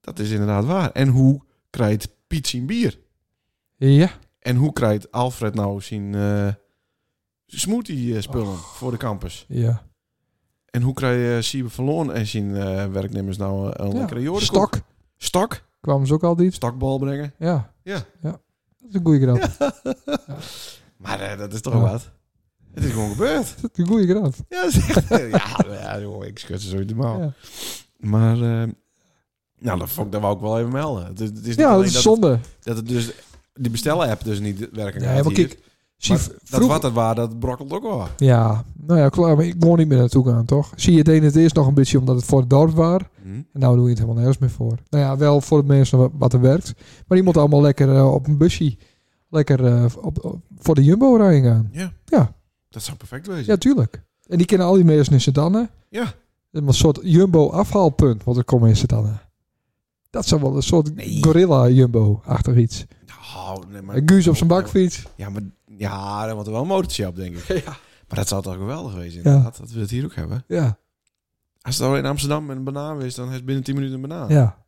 S2: Dat is inderdaad waar. En hoe krijgt Piet zijn bier?
S1: Ja.
S2: En hoe krijgt Alfred nou zijn eh, smoothie-spullen voor de campus?
S1: Ja.
S2: En hoe krijgt Siebe van Loon en zijn eh, werknemers nou eh, een
S1: ja.
S2: lekkere jodenkoek?
S1: Stok.
S2: Stok?
S1: Kwamen ze ook al die?
S2: Stokbal brengen?
S1: Ja.
S2: Ja.
S1: Ja. Dat is een goede grap.
S2: Maar eh, dat is toch
S1: Ja.
S2: wat? Het is gewoon gebeurd.
S1: Dat is een goede grap.
S2: Ja, dat is echt- eh, ja, ja, joh, Oh. ik schud ze zo normaal.
S1: Ja,
S2: Maar, eh, nou, dat, vond ik, dat wou ik wel even melden. Het is, het is niet
S1: ja
S2: alleen
S1: dat is
S2: dat,
S1: zonde.
S2: het, dat het dus, die bestellen-app dus niet werken
S1: Ja,
S2: gaat
S1: maar
S2: hier.
S1: kijk. Zie,
S2: Maar dat
S1: vroeg-
S2: wat het waar, dat brokkelt ook wel.
S1: Ja. Nou ja, klaar. Maar ik kon niet meer naartoe gaan, toch? Zie je, deed het eerst nog een beetje omdat het voor het dorp was.
S2: Hm?
S1: En nou doe je het helemaal nergens meer voor. Nou ja, wel voor het mensen wat- wat er werkt. Maar die moet allemaal lekker eh, op een busje. Lekker eh, op, op- voor de Jumbo rijden gaan.
S2: Ja.
S1: Ja.
S2: Dat zou perfect wezen.
S1: Ja, tuurlijk. En die kennen al die mensen in Sedanne.
S2: Ja.
S1: Een soort Jumbo-afhaalpunt wat er komt in Sedanne. Dat zou wel een soort
S2: Nee.
S1: gorilla-Jumbo-achtig iets.
S2: Nou, nee, maar...
S1: En Guus op zijn bakfiets.
S2: Ja, maar... Ja, dan wordt er wel een motortje op, denk ik.
S1: Ja.
S2: Maar dat zou toch geweldig wezen, inderdaad. Dat we het hier ook hebben.
S1: Ja.
S2: Als het al in Amsterdam met een banaan is, dan heeft binnen 10 minuten een banaan.
S1: Ja.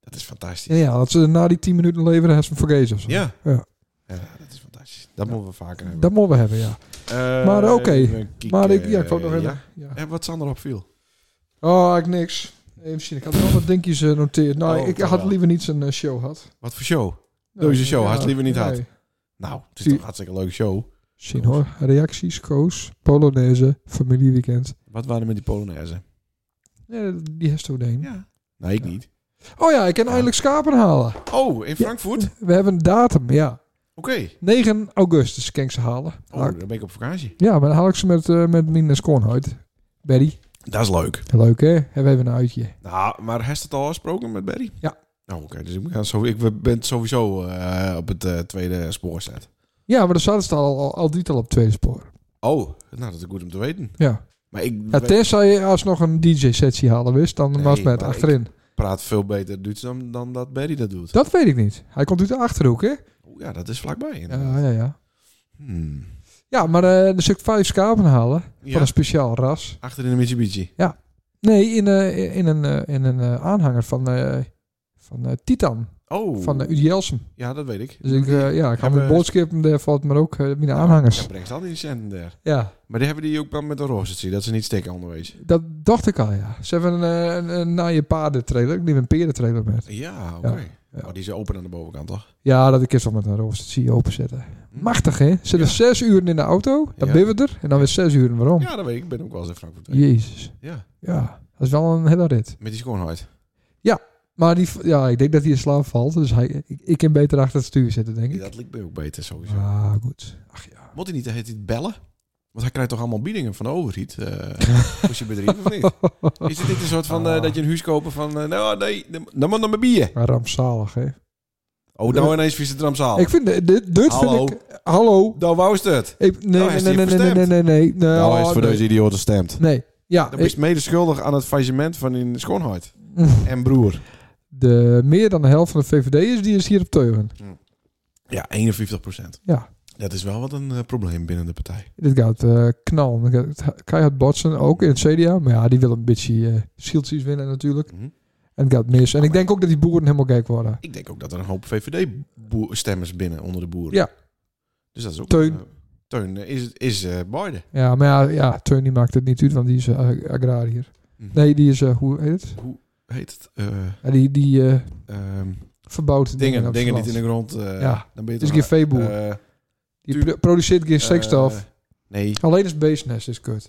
S2: Dat is fantastisch.
S1: En ja, als ze na die 10 minuten leveren, hebben ze hem vergeten of zo.
S2: Ja.
S1: Ja.
S2: Ja, dat is fantastisch. Dat moeten we vaker hebben.
S1: Dat moeten we hebben, ja.
S2: Eh,
S1: maar oké.
S2: even kijken.
S1: Maar ik, ja, ik wou nog
S2: eh, Ja.
S1: even... Ja.
S2: En wat Sander opviel.
S1: Oh, ik niks. Even zien, ik had nog wat dingetjes eh, noteerd. Nou,
S2: Oh,
S1: ik
S2: toch
S1: had
S2: wel.
S1: liever niet een show gehad.
S2: Wat voor show? Deze show had je liever niet gehad.
S1: had.
S2: Nou, het
S1: Die-
S2: is toch een hartstikke leuke show.
S1: Zien hoor. Reacties, Koos, Polonaise, familieweekend.
S2: Wat waren er met die Polonaise?
S1: Ja, die heeft toen een.
S2: Ja. Nee, ik niet.
S1: Oh ja, ik kan eindelijk schapen halen.
S2: Oh, in Frankfurt?
S1: We hebben een datum, ja.
S2: Oké.
S1: 9 augustus kan ik ze halen.
S2: Oh,
S1: Haal
S2: dan
S1: ik-
S2: ben ik op vakantie.
S1: Ja, maar dan haal ik ze met, eh met mijn schoonheid. Berry.
S2: Dat is leuk.
S1: Leuk hè? Hebben we even een uitje.
S2: Nou, maar heeft het al afgesproken met Barry?
S1: Ja.
S2: Nou, oké. dus ik, ga zo, ik ben sowieso eh, op het eh, tweede spoor zet.
S1: Ja, maar dan zaten ze al, al, al dit al op het tweede spoor.
S2: Oh, nou, dat is goed om te weten.
S1: Ja.
S2: Maar ik
S1: ja
S2: weet-
S1: tenzij je alsnog een DJ-sessie halen wist, dan
S2: Nee,
S1: was het met
S2: maar
S1: achterin.
S2: praat veel beter Duits dan, dan dat Barry dat doet.
S1: Dat weet ik niet. Hij komt uit de Achterhoek hè?
S2: Oh, ja, dat is vlakbij.
S1: Ja,
S2: inderdaad.
S1: ja, ja.
S2: Hmm.
S1: Ja, maar eh dan zul ik vijf schapen halen.
S2: Ja,
S1: Van een speciaal ras.
S2: achter in de Mitsubishi.
S1: Nee, in, eh, in een, eh, in een eh, aanhanger van, eh, van eh, Titan.
S2: Oh,
S1: van de Udi Jelsen.
S2: ja, dat weet ik.
S1: Dus ik, eh, ja, ik ga met
S2: Hebben-
S1: boodschappen daarvoor, maar ook eh, mijn aanhangers.
S2: Ja, brengt al die centen daar.
S1: Ja,
S2: Maar die hebben die ook wel met een roze dat ze niet steken onderwijs.
S1: dat dacht ik al, ja. Ze hebben een, eh, een, een naaie paardentrailer. Ik neem een perentrailer met.
S2: Ja, oké.
S1: Ja, ja.
S2: Oh, die is open aan de bovenkant, toch?
S1: Ja, dat ik eerst nog met een roostertje openzetten. Machtig, hè? Zitten
S2: Hm. Ja.
S1: zes uur in de auto, dan
S2: Ja.
S1: ben we er. En dan weer zes uur waarom.
S2: Ja, dat weet ik. Ik ben ook wel eens in Frankfurt. geweest.
S1: Jezus.
S2: Ja,
S1: Ja, dat is wel een hele rit.
S2: met die schoonheid.
S1: Maar die, ja, ik denk dat hij in slaap valt. Dus hij, ik, ik kan beter achter het stuur zitten, denk
S2: Ja,
S1: ik.
S2: dat lijkt mij ook beter sowieso.
S1: ah, goed. Ach ja.
S2: Moet hij niet, heet hij bellen? Want hij krijgt toch allemaal biedingen van de overheid? eh voor zijn bedrijf of niet? Is dit niet een soort van eh,
S1: Ah.
S2: dat je een huis kopen van... eh, nou, nee, dan- dan moet nog maar bier.
S1: Maar rampzalig, hè?
S2: Oh, nou ineens vies het rampzaal.
S1: Ik vind dit, dit dit
S2: Hallo.
S1: vind ik... Hallo.
S2: Dan Nou, wou is het.
S1: Ik, nee,
S2: Nou, hij
S1: nee,
S2: is
S1: nee, nee,
S2: hier
S1: nee, nee,
S2: verstemd.
S1: nee, nee, nee.
S2: nou, hij is
S1: oh,
S2: voor
S1: nee.
S2: deze idioten stemt.
S1: Nee. Ja,
S2: Dan
S1: ik-
S2: is medeschuldig aan het faillissement van in schoonheid. En broer.
S1: de, meer dan de helft van de VVD'ers die is hier op teugen.
S2: Ja, 51 procent.
S1: Ja.
S2: Dat is wel wat een eh, probleem binnen de partij.
S1: Dit gaat eh, knallen. Dit gaat Keihard botsen, ook in het CDA. Maar ja, die wil een beetje eh schildsies winnen natuurlijk.
S2: Mhm.
S1: En het gaat mis. En ik denk ook dat die boeren helemaal gek worden.
S2: Ik denk ook dat er een hoop VVD-stemmers binnen onder de boeren.
S1: Ja.
S2: Dus dat is ook...
S1: Teun.
S2: eh, Teun eh, is, is eh Biden.
S1: Ja, maar ja, ja Teun die maakt het niet uit, want die is eh, agrariër.
S2: Mhm.
S1: Nee, die is, eh, hoe heet het?
S2: Heet het? eh,
S1: Ja, die die eh,
S2: ehm,
S1: verbouwt
S2: dingen,
S1: op
S2: dingen
S1: het
S2: niet in de
S1: land.
S2: grond. eh,
S1: Ja.
S2: Dan ben je
S1: Het is
S2: toch
S1: geen veeboer.
S2: eh, eh,
S1: Die
S2: tuur.
S1: pro- produceert geen stikstof.
S2: Eh. nee.
S1: Alleen het beestnest is kut.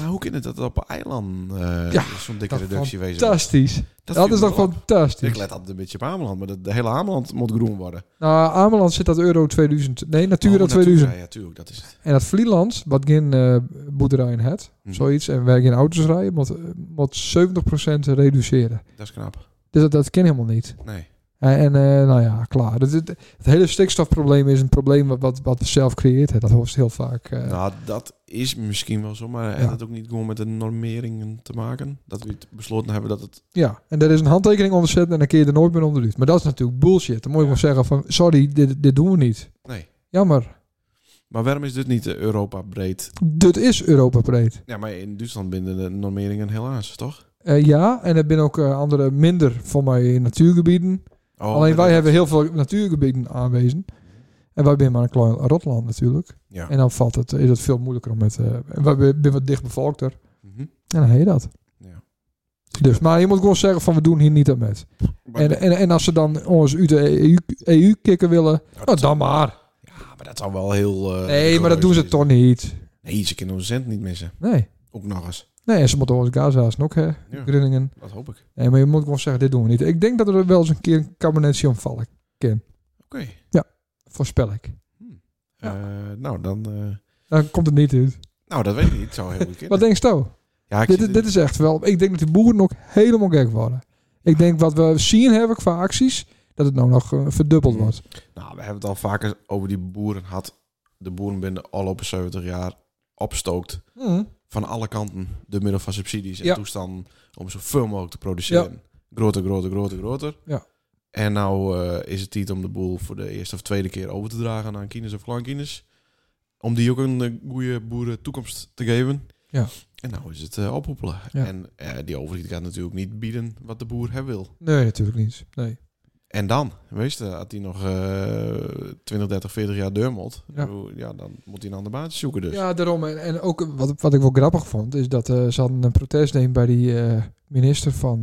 S2: Maar hoe kan het dat op een eiland eh,
S1: Ja,
S2: zo'n dikke
S1: dat
S2: reductie wezen?
S1: Fantastisch.
S2: Dat,
S1: Dat
S2: viel
S1: is
S2: me
S1: toch
S2: wel op. Ik
S1: fantastisch.
S2: let altijd een beetje op Ameland, maar dat- de hele Ameland moet groen worden.
S1: Nou, Ameland zit dat Euro 2000. Nee, Natura
S2: Oh,
S1: 2000.
S2: Ja, tuurlijk, dat is het.
S1: En dat Vlieland, wat geen eh, boerderijen had,
S2: Mhm.
S1: zoiets, en waar geen auto's rijden, moet, eh, moet 70% reduceren.
S2: Dat is knap.
S1: Dus dat, dat ken helemaal niet.
S2: Nee.
S1: En, en, eh, nou ja, klaar. Het, het, het hele stikstofprobleem is een probleem wat, wat, wat we zelf creëert. hebben. Dat hoort heel vaak. eh,
S2: Nou, dat is misschien wel zo, maar
S1: Ja.
S2: heeft het ook niet gewoon met de normeringen te maken? Dat we het besloten hebben dat het...
S1: Ja, en daar is een handtekening onder zetten en dan kun je er nooit meer onderuit. Maar dat is natuurlijk bullshit. Dan moet je
S2: Ja.
S1: gewoon zeggen van, sorry, dit, dit doen we niet.
S2: Nee.
S1: Jammer.
S2: Maar waarom is dit niet eh, Europa breed?
S1: Dit is Europa breed.
S2: Ja, maar in Duitsland binden de normeringen helaas, toch?
S1: Eh, ja, en er zijn ook eh, andere minder voor mij in natuurgebieden.
S2: Oh,
S1: Alleen wij
S2: inderdaad.
S1: hebben heel veel natuurgebieden aanwezen. En wij zijn maar een klein rotland natuurlijk.
S2: Ja.
S1: En dan valt het, is het veel moeilijker om met... eh, en wij zijn wat dichtbevolkter.
S2: Mhm.
S1: En dan heb je dat.
S2: Ja.
S1: Dus, maar je moet gewoon zeggen van we doen hier niet aan met.
S2: Maar-
S1: En, en, en als ze dan ons uit de E EU, EU kicken willen, nou dan maar.
S2: Ja, maar dat zou wel heel... eh,
S1: Nee, maar dat doen ze toch
S2: curieus
S1: niet.
S2: zijn. Nee, ze kunnen onze cent niet missen.
S1: Nee.
S2: Ook nog eens.
S1: Nee, en ze moeten ons Gaza's nog, hè. Groningen.
S2: Dat hoop ik.
S1: Nee, maar je moet gewoon zeggen, dit doen we niet. Ik denk dat er wel eens een keer een kabinetje omvallen.
S2: Oké.
S1: Voorspel ik.
S2: Eh, nou, dan... eh,
S1: Dan komt het niet uit.
S2: nou, dat weet ik niet. Het zou heel goed kunnen.
S1: Wat denk je? nou?
S2: Ja, ik
S1: Dit,
S2: zit
S1: dit is echt wel... Ik denk dat die boeren ook helemaal gek worden. Ik denk wat we zien hebben qua acties, dat het nou nog eh, verdubbeld
S2: Hmm.
S1: wordt.
S2: Nou, we hebben het al vaker over die boeren gehad. De boeren binnen al op 70 jaar opstookt.
S1: Mm.
S2: Van alle kanten. Door middel van subsidies en
S1: Ja.
S2: toestanden. Om zoveel mogelijk te produceren. Groter, groter, groter, groter.
S1: Ja.
S2: En nou eh, is het tijd om de boel voor de eerste of tweede keer over te dragen aan kines of kleinkines. Om die ook een eh, goede boeren toekomst te geven.
S1: Ja.
S2: En nou is het eh ophoepelen.
S1: Ja.
S2: En eh, die overheid gaat natuurlijk niet bieden wat de boer hebben wil.
S1: Nee, natuurlijk niet. Nee.
S2: En dan, weet je, had hij nog eh 20, 30, 40 jaar deurmot.
S1: Ja.
S2: Ja. ja, dan moet hij een ander baantje zoeken dus.
S1: Ja, daarom. En, en ook eh, wat, wat ik wel grappig vond, is dat eh, ze hadden een protest nemen bij die eh, minister van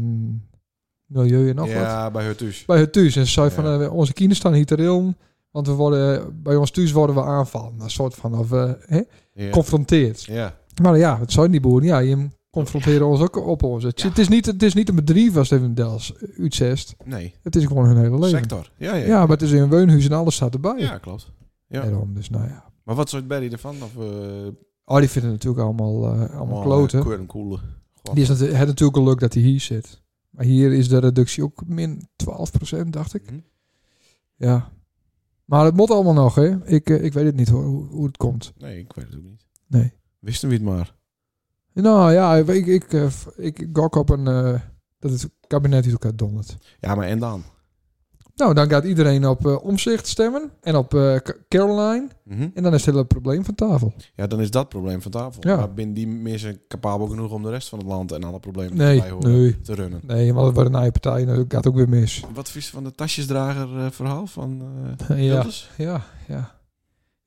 S1: Milieu en nog wat.
S2: Ja, bij haar thuis.
S1: bij het thuis. En ze zei van,
S2: Ja.
S1: eh, onze kinderen staan hier te rillen. Want we worden, eh, bij ons thuis worden we aanvallen. Een soort van, of eh, hè,
S2: Ja.
S1: confronteerd.
S2: ja.
S1: Maar ja, het zijn die boeren. Ja, je confronteren ons ook op ons. Het, het, is niet, het is niet een bedrijf als het even Dels uitzest.
S2: nee.
S1: Het is gewoon hun hele leven.
S2: Sector. Ja, ja.
S1: Ja, maar het is in een woonhuis en alles staat erbij.
S2: ja klopt. Ja.
S1: Daarom, dus nou ja.
S2: Maar wat soort Barry ervan? Of, eh allemaal
S1: Oh, die vinden het natuurlijk allemaal, eh, allemaal
S2: Oh,
S1: kloten.
S2: keur en eh, koelen. Goh.
S1: Die is natu- het natuurlijk geluk dat hij hier zit. Maar hier is de reductie ook min 12%, dacht ik.
S2: Mhm.
S1: Ja. Maar het moet allemaal nog, hè? Ik, eh, ik weet het niet hoor, hoe, hoe het komt.
S2: Nee, ik weet het ook niet.
S1: Nee.
S2: Wisten we het maar.
S1: Nou ja, ik, ik, ik, eh, v- ik gok op een, eh, dat het kabinet uit elkaar dondert.
S2: Ja, maar en dan?
S1: Nou, dan gaat iedereen op eh, Omzicht stemmen en op eh, Ca- Caroline.
S2: Mhm.
S1: En dan is het hele probleem van tafel.
S2: Ja, dan is dat probleem van tafel.
S1: Ja.
S2: Maar binnen die mensen capabel genoeg om de rest van het land en alle problemen die
S1: Nee,
S2: erbij horen
S1: nee.
S2: te runnen.
S1: Nee, want het wordt een eigen partij en dat gaat ook weer mis.
S2: Wat vies van de tasjesdrager eh, verhaal van eh
S1: ja,
S2: Wilders?
S1: ja, ja.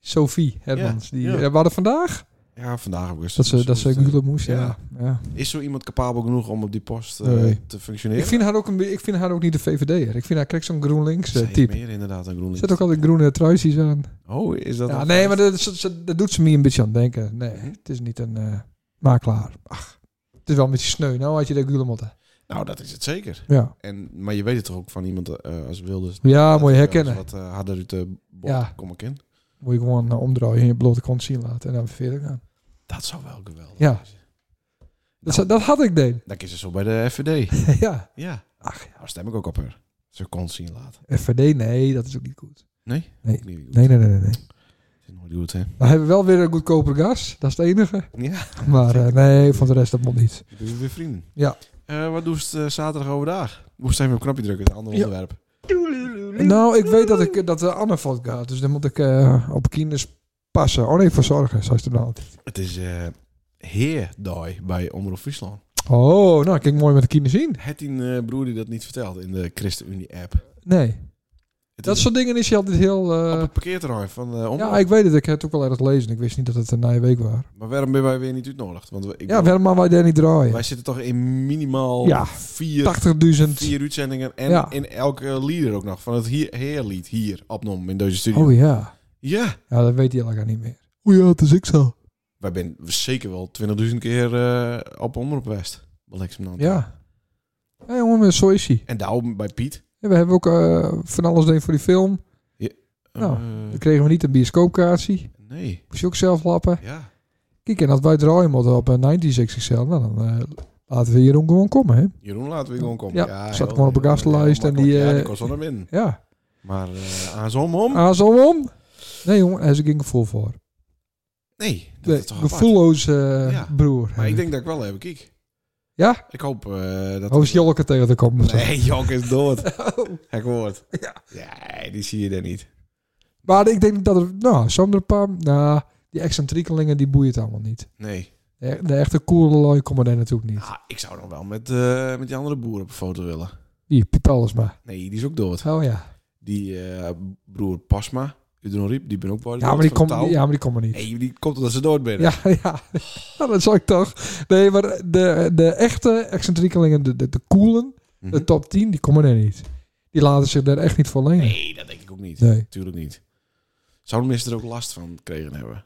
S1: Sophie Hermans. Die,
S2: ja.
S1: eh, waren vandaag?
S2: Ja, vandaag ook eens.
S1: Dat ze, dat ze Gulen moest, ja.
S2: Ja.
S1: ja.
S2: Is zo iemand capabel genoeg om op die post eh,
S1: Nee.
S2: te functioneren?
S1: Ik, vind haar ook een, be- ik vind haar ook niet de VVD'er. Ik vind haar krijgt zo'n GroenLinks eh,
S2: Zij
S1: type.
S2: meer inderdaad een groen
S1: Zet ook altijd groene truisjes aan.
S2: Oh, is dat
S1: Ja,
S2: een-
S1: nee, maar dat, Mhm. dat- dat- dat doet ze me een beetje aan het denken. Nee, het is niet een eh, makelaar. Ach, het is wel een beetje sneu. Nou had je de Gulemotte.
S2: Nou, dat is het zeker.
S1: Ja.
S2: En, maar je weet het toch ook van iemand eh, als Wilders...
S1: ja,
S2: dat
S1: Ah, moet je
S2: hij
S1: herkennen.
S2: wel eens Wat eh, harder uit de bocht
S1: Ja.
S2: kom ik in.
S1: Moet je gewoon eh, omdraaien en je blote kont zien laten. En dan verder gaan.
S2: Dat zou wel geweldig
S1: Ja.
S2: zijn.
S1: Dat, zou- dat had ik deed.
S2: Dan is ze zo bij de FVD.
S1: ja.
S2: ja.
S1: Ach ja,
S2: Nou, stem ik ook op haar. Ze kon zien laten.
S1: FVD, nee, dat is ook niet goed.
S2: Nee?
S1: Nee.
S2: Niet goed.
S1: Nee, nee, nee, nee. nee.
S2: Is nooit goed, hè?
S1: We hebben wel weer een goedkoper gas. Dat is het enige.
S2: Ja.
S1: Maar eh, nee, van de rest dat moet niet.
S2: We hebben weer vrienden.
S1: Ja.
S2: Eh, wat doe je eh, zaterdag overdag? Moest even op knopje drukken, een ander
S1: Ja.
S2: onderwerp.
S1: Nou, ik weet dat ik dat de Anne valt gaat. Dus dan moet ik eh, op kinders passen. Oh nee, verzorgen, zoals het dan altijd.
S2: Het is eh Heerdaai bij Omroep Friesland.
S1: Oh, nou, kijk mooi met de kinderen zien.
S2: Het een eh, broer die dat niet vertelt in de ChristenUnie-app.
S1: Nee,
S2: Het
S1: dat
S2: is
S1: soort dingen is je altijd heel... eh,
S2: op het parkeerterrein van eh Omroep.
S1: ja, ik weet het. Ik heb het ook wel erg gelezen. Ik wist niet dat het een naaie week was.
S2: Maar waarom ben wij weer niet uitnodigd? Want we- ik
S1: Ja,
S2: bedoel,
S1: waarom maar wij daar niet draaien?
S2: wij zitten toch in minimaal
S1: Ja.
S2: vier,
S1: 80.000...
S2: vier uitzendingen en
S1: Ja.
S2: in elke lieder ook nog. Van het hier, Heerlied hier opnomen in deze studio.
S1: Oh ja.
S2: Ja,
S1: Ja, dat weet hij elkaar niet meer. O ja, het is ik zo.
S2: wij zijn zeker wel 20.000 keer eh, op Omroep West. Wel niks om dan te-
S1: Ja. Ja, jongen, maar zo is hij.
S2: En daarom bij Piet.
S1: Ja, we hebben ook eh, van alles deed voor die film. Nou,
S2: Eh,
S1: Dan kregen we niet een bioscoopkaartje.
S2: nee,
S1: Moest je ook zelf lappen.
S2: ja.
S1: Kijk, en als wij draaien moeten op een 96 XL, nou, dan eh, laten we Jeroen gewoon komen, hè?
S2: Jeroen laten we gewoon komen.
S1: Ja, zat
S2: heel-
S1: gewoon op een
S2: heel-
S1: gastenlijst
S2: heel
S1: en die,
S2: makkelijk. Ja,
S1: eh, Ah,
S2: die kost wel naar binnen.
S1: Ja.
S2: Maar eh aan zo'n om?
S1: Aas om om. Nee, jongen, hij is er geen gevoel voor.
S2: Nee, dat
S1: Nee,
S2: is toch apart.
S1: gevoelloos eh,
S2: Ja,
S1: broer.
S2: Maar ik denk dat ik wel heb, kijk.
S1: Ja?
S2: Ik hoop eh, dat...
S1: Oh, is Jolke tegen te komen. of zo.
S2: Nee, Jonk is dood. Hek woord. Oh. Ja. die zie je daar niet.
S1: Maar ik denk dat er, nou, sommige paar, nou, die excentriekelingen, die boeien het allemaal niet.
S2: Nee.
S1: De, de echte coole lui komen daar natuurlijk niet.
S2: Ah, ik zou nog wel met, eh, met die andere boer op een foto willen.
S1: Die Piet Allesma.
S2: Nee, die is ook dood.
S1: Oh ja.
S2: Die eh, broer Pasma, Udon Riep, die ben ook wel
S1: Ja, maar die komen ja, maar die komen niet.
S2: Nee, die komt omdat ze dood zijn.
S1: Ja, ja. Ja, dat zou ik toch. Nee, maar de, de echte excentriekelingen, de, de, de coolen,
S2: Mhm.
S1: de top 10, die komen er niet. Die laten zich daar echt niet voor lenen.
S2: Nee, dat denk ik ook niet.
S1: Nee.
S2: Tuurlijk niet. Zouden mensen er ook last van kregen hebben?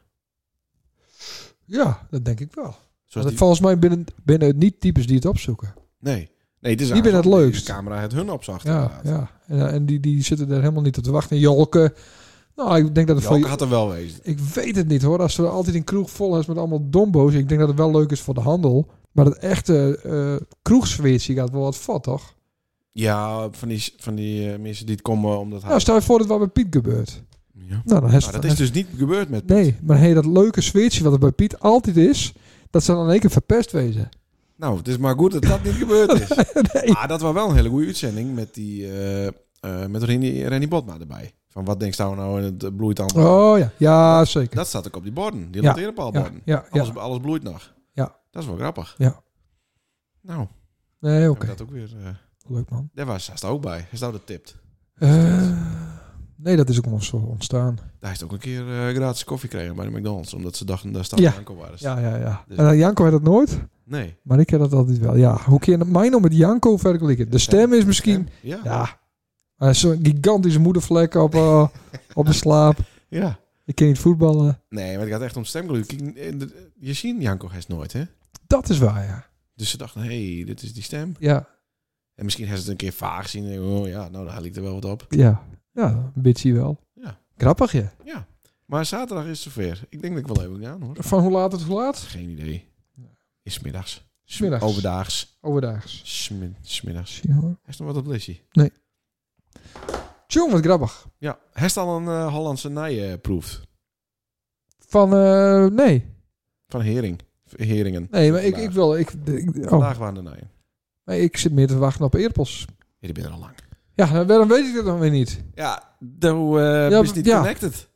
S1: Ja, dat denk ik wel.
S2: Zoals
S1: Want
S2: Dus die-
S1: Volgens mij binnen, binnen het niet types die het opzoeken.
S2: Nee. Nee, het is
S1: Die ben
S2: eigenlijk
S1: het
S2: wel
S1: leukst.
S2: De camera het hun opzag.
S1: Ja, ja. En, en die, die zitten er helemaal niet op te wachten. En Jolke. Nou, ik denk dat het
S2: Welke
S1: voor...
S2: had er wel wezen?
S1: Ik weet het niet hoor. Als er altijd een kroeg vol is met allemaal dombo's. Ik denk dat het wel leuk is voor de handel. Maar het echte eh kroegsfeertje gaat wel wat vat, toch?
S2: Ja, van die, van die eh, mensen die het komen omdat hij...
S1: Nou, stel je voor dat wat bij Piet gebeurt.
S2: Ja.
S1: Nou, dan heeft
S2: Nou, dat is dus niet gebeurd met...
S1: Nee, maar hey, dat leuke sfeertje wat er bij Piet altijd is... dat ze dan in één keer verpest wezen.
S2: Nou, het is maar goed dat dat niet gebeurd is.
S1: Nee.
S2: Ah, dat was wel een hele goede uitzending met die... eh, eh, met Rennie, Rennie Botma erbij. Van wat denkt nou nou in het bloeit allemaal?
S1: Oh ja, ja zeker.
S2: Dat staat ook op die borden.
S1: Ja.
S2: Die
S1: ja,
S2: lanteerpaalborden.
S1: ja, ja.
S2: Alles, alles bloeit nog.
S1: Ja.
S2: Dat is wel grappig.
S1: Ja.
S2: Nou,
S1: Nee, oké.
S2: hebben we dat ook weer... eh,
S1: Leuk man.
S2: daar was hij ook bij. Hij staat dat tipt.
S1: Eh, nee, dat is ook ons eh, ontstaan.
S2: Daar heeft ook een keer eh, gratis koffie gekregen bij de McDonald's. Omdat ze dachten dat staat
S1: Ja.
S2: ja. aan waren.
S1: Ja, ja, ja.
S2: Dus-
S1: En dan Janko had dat nooit,
S2: Nee.
S1: maar ik heb dat altijd wel. Ja, hoe kun je mij nou met Janko vergelijken? De stem is misschien...
S2: Ja.
S1: Ja, maar zo'n gigantische moedervlek op, eh, op de slaap.
S2: Ja.
S1: Ik kan niet voetballen.
S2: Nee, maar het gaat echt om stemgeluid. Kijk, eh, de- Je ziet Janko Hest nooit, hè?
S1: Dat is waar, ja.
S2: Dus ze dachten, hé, hey, dit is die stem.
S1: Ja,
S2: En misschien heeft ze het een keer vaag gezien. en Oh ja, nou, daar liep er wel wat op.
S1: ja. Ja, een bitchie wel.
S2: Ja.
S1: Grappig, je.
S2: Ja. Maar zaterdag is het zover. Ik denk dat ik wel even gaan, hoor.
S1: Van hoe laat tot hoe laat?
S2: Geen idee. Is 's middags.
S1: Smiddags.
S2: Overdaags.
S1: Overdaags.
S2: Smi- 's middags.
S1: Zie je hoor.
S2: Hij is nog wat op lesje.
S1: Tjong, wat grappig.
S2: Ja. Hij is al een eh, Hollandse nij proeft.
S1: Van, eh, nee.
S2: Van Hering. Heringen.
S1: Nee, maar ik, ik
S2: Vandaag.
S1: wil... Ik, ik, oh.
S2: Vandaag waren de nijen.
S1: Nee, ik zit meer te wachten op eerpels.
S2: Ja, die ben er al lang.
S1: Ja, nou, waarom weet ik dat dan weer niet?
S2: Ja, dan eh
S1: Ja,
S2: is niet
S1: ja.
S2: connected.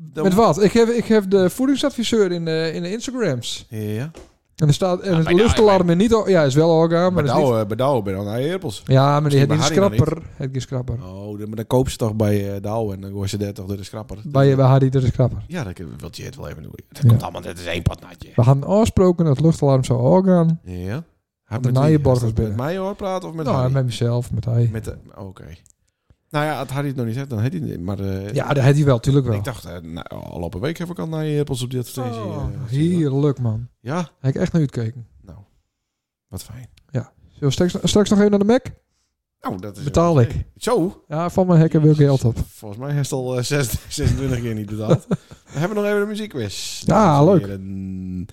S2: Dan-
S1: Met wat? Ik heb, ik heb de voedingsadviseur in de, in de Instagrams.
S2: Ja.
S1: En er staat en het
S2: maar nou,
S1: luchtalarm is niet... o- Ja, is wel orgaan, maar, dat is niet...
S2: Bedouwen, bedouwen ben je dan naar Herpels.
S1: Ja, maar die heeft
S2: Misschien
S1: geen
S2: bij Harry dan
S1: scrapper. Het geen scrapper.
S2: Oh, dan, maar dan koop ze toch bij eh Douwe en dan hoor ze daar toch door de schrapper.
S1: Bij, bij Harry, dat is scrapper.
S2: Ja, dat kan- wil je het wel even doen. Dat
S1: Ja.
S2: komt allemaal, dat is één patnaatje.
S1: We hadden afgesproken dat het luchtalarm zou orgaan.
S2: Ja. Met
S1: de
S2: wie?
S1: Nijenborgers
S2: Is dat
S1: binnen.
S2: Met mij hoor praten of met
S1: Nou,
S2: Harry?
S1: met mezelf, met hij.
S2: Met de- Oké. Nou ja, had Harry het nog niet gezegd, dan had hij het niet. Maar eh,
S1: Ja, dat had hij wel, tuurlijk wel.
S2: ik dacht, eh, nou, al op een week heb ik al naar Herpels op die advertentie.
S1: Oh,
S2: eh,
S1: heerlijk, man.
S2: Ja,
S1: Heb ik echt naar uitkeken.
S2: nou, wat fijn.
S1: Zullen we straks, straks nog even naar de Mac?
S2: Nou, dat is
S1: Betaal ik.
S2: Zo,
S1: Ja, van mijn hekken wil ik geld op.
S2: volgens mij heeft het al eh, 26 26 keer niet betaald. We hebben nog even de muziekquiz.
S1: Ja,
S2: dames en
S1: leuk.
S2: heren.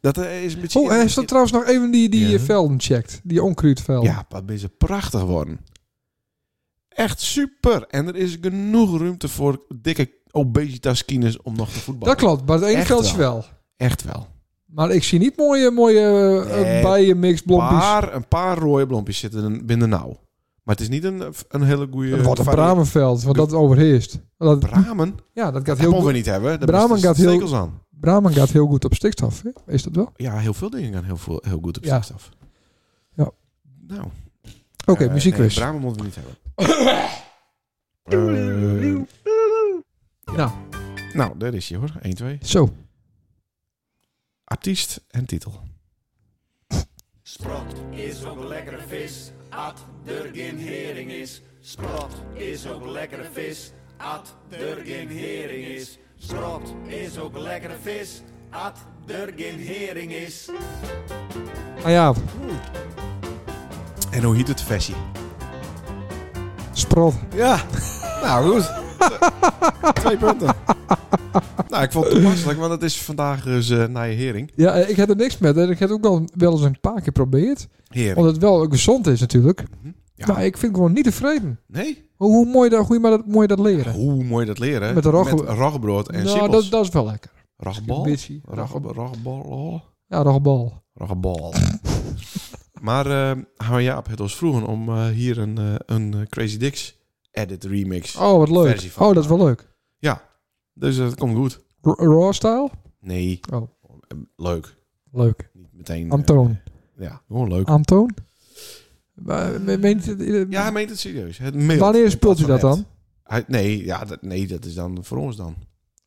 S2: Dat eh, is een beetje...
S1: Oh, hij heeft er trouwens nog even die, die
S2: Ja.
S1: velden checkt. Die onkruidvelden.
S2: Ja, wat is het prachtig worden. Echt super. En er is genoeg ruimte voor dikke obesitas-kines om nog te voetballen.
S1: Dat klopt, maar het ene
S2: Echt
S1: veldje wel.
S2: Echt wel.
S1: Maar ik zie niet mooie, mooie eh,
S2: Nee,
S1: bijen, mix, blompies.
S2: Paar, een paar rode blompjes zitten er binnen nauw. Maar het is niet een, een hele goede...
S1: Wat een bramenveld, want dat overheerst. Want Dat,
S2: Bramen?
S1: ja, dat gaat
S2: Dat
S1: heel
S2: mogen we
S1: goed.
S2: niet hebben. Daar
S1: Bramen
S2: Bramen
S1: gaat
S2: gaat
S1: heel-
S2: stekels aan.
S1: Bramen gaat heel goed op stikstof, hè? is dat wel? Oké,
S2: Ja, heel veel dingen gaan heel, veel, heel goed op
S1: Ja.
S2: stikstof.
S1: Ja.
S2: Nou. eh,
S1: muziekquiz.
S2: Nee, Bramen moeten we niet hebben. Eh,
S1: Nou.
S2: Nou, daar is je hoor. 1, 2.
S1: Zo,
S2: Artiest en titel.
S4: Sprot is ook lekkere vis, at er geen hering is. Sprot is ook lekkere vis, at er geen hering is. Sprot is ook lekkere vis, at er geen hering is.
S1: ah ja,
S2: En hoe heet het versie?
S1: sprot.
S2: Ja, nou goed. Twee punten. nou, ik vond het toepasselijk, want het is vandaag dus eh na je hering.
S1: Ja, eh, ik heb er niks met. En ik heb het ook wel, wel eens een paar keer geprobeerd.
S2: Hering.
S1: Omdat het wel gezond is natuurlijk.
S2: Mhm. Ja.
S1: Maar ik vind het gewoon niet tevreden.
S2: Nee?
S1: Hoe, hoe, mooi, dat, hoe je maar dat, mooi dat leren.
S2: Hoe mooi dat leren.
S1: Eh? Met rogge-
S2: roggebrood en
S1: nou,
S2: sikkels.
S1: dat, dat is wel lekker.
S2: Rogbal?
S1: Ambitie.
S2: Rogb- Rogbal?
S1: Ja, rogbal.
S2: Rogbal. maar eh hou Jaap het ons vroegen om eh, hier een, eh, een eh, Crazy Dicks edit remix.
S1: Oh, wat leuk.
S2: Versie van
S1: Oh, dat is wel leuk.
S2: Dus eh, dat komt goed.
S1: R- Raw style?
S2: Nee. Ehm,
S1: Oh.
S2: Leuk.
S1: Leuk.
S2: Niet meteen. eh,
S1: Antoon.
S2: ja, gewoon leuk.
S1: Antoon? Maar, me- meent het- eh,
S2: Ja, hij meent het serieus. Het mailt
S1: wanneer
S2: in
S1: speelt u dat
S2: plaats van
S1: dan?
S2: het. Hij- nee, ja, dat, nee, dat is dan voor ons dan.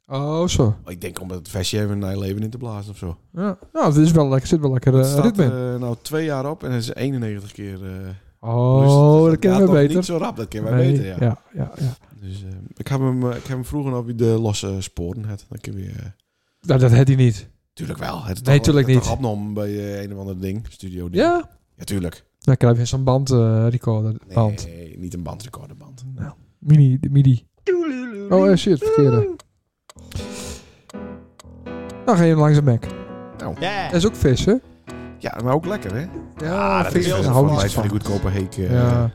S1: Oh, zo.
S2: Ik denk om het vestje even naar je leven in te blazen of zo.
S1: Ja. Nou, het is wel lekker, zit wel lekker
S2: Het
S1: eh
S2: staat
S1: ritme in.
S2: eh, nou twee jaar op en het is 91 keer. eh,
S1: Oh,
S2: dus
S1: dat kennen
S2: gaat
S1: we
S2: toch
S1: beter.
S2: Niet zo rap, dat kennen wij
S1: Nee,
S2: beter, ja.
S1: ja, ja, ja.
S2: Dus, eh, ik, heb hem, eh, ik heb hem vroeger al wie de losse sporen had. Dan kun je, eh,
S1: Nou, dat had hij niet.
S2: tuurlijk wel. Het is
S1: Nee,
S2: toch-
S1: tuurlijk
S2: het is
S1: niet.
S2: toch opnam bij eh, een of ander ding, studio ding.
S1: Ja?
S2: Ja, tuurlijk.
S1: Dan krijg je zo'n band, eh, recorder.
S2: Nee,
S1: Band. Nou,
S2: niet een bandrecorderband.
S1: Mini, de midi. Oh, eh, shit, verkeerde. Nou, ga je hem langs de Mac.
S4: Ja,
S1: Dat is ook vis, hè?
S2: Ja, maar ook lekker, hè?
S1: Ja,
S2: dat is
S4: ik-
S2: wel
S4: daar
S1: ja,
S4: hou
S2: een
S4: ik
S2: lijst
S4: niet
S2: van de
S4: van.
S2: goedkope heek. eh,
S1: Ja,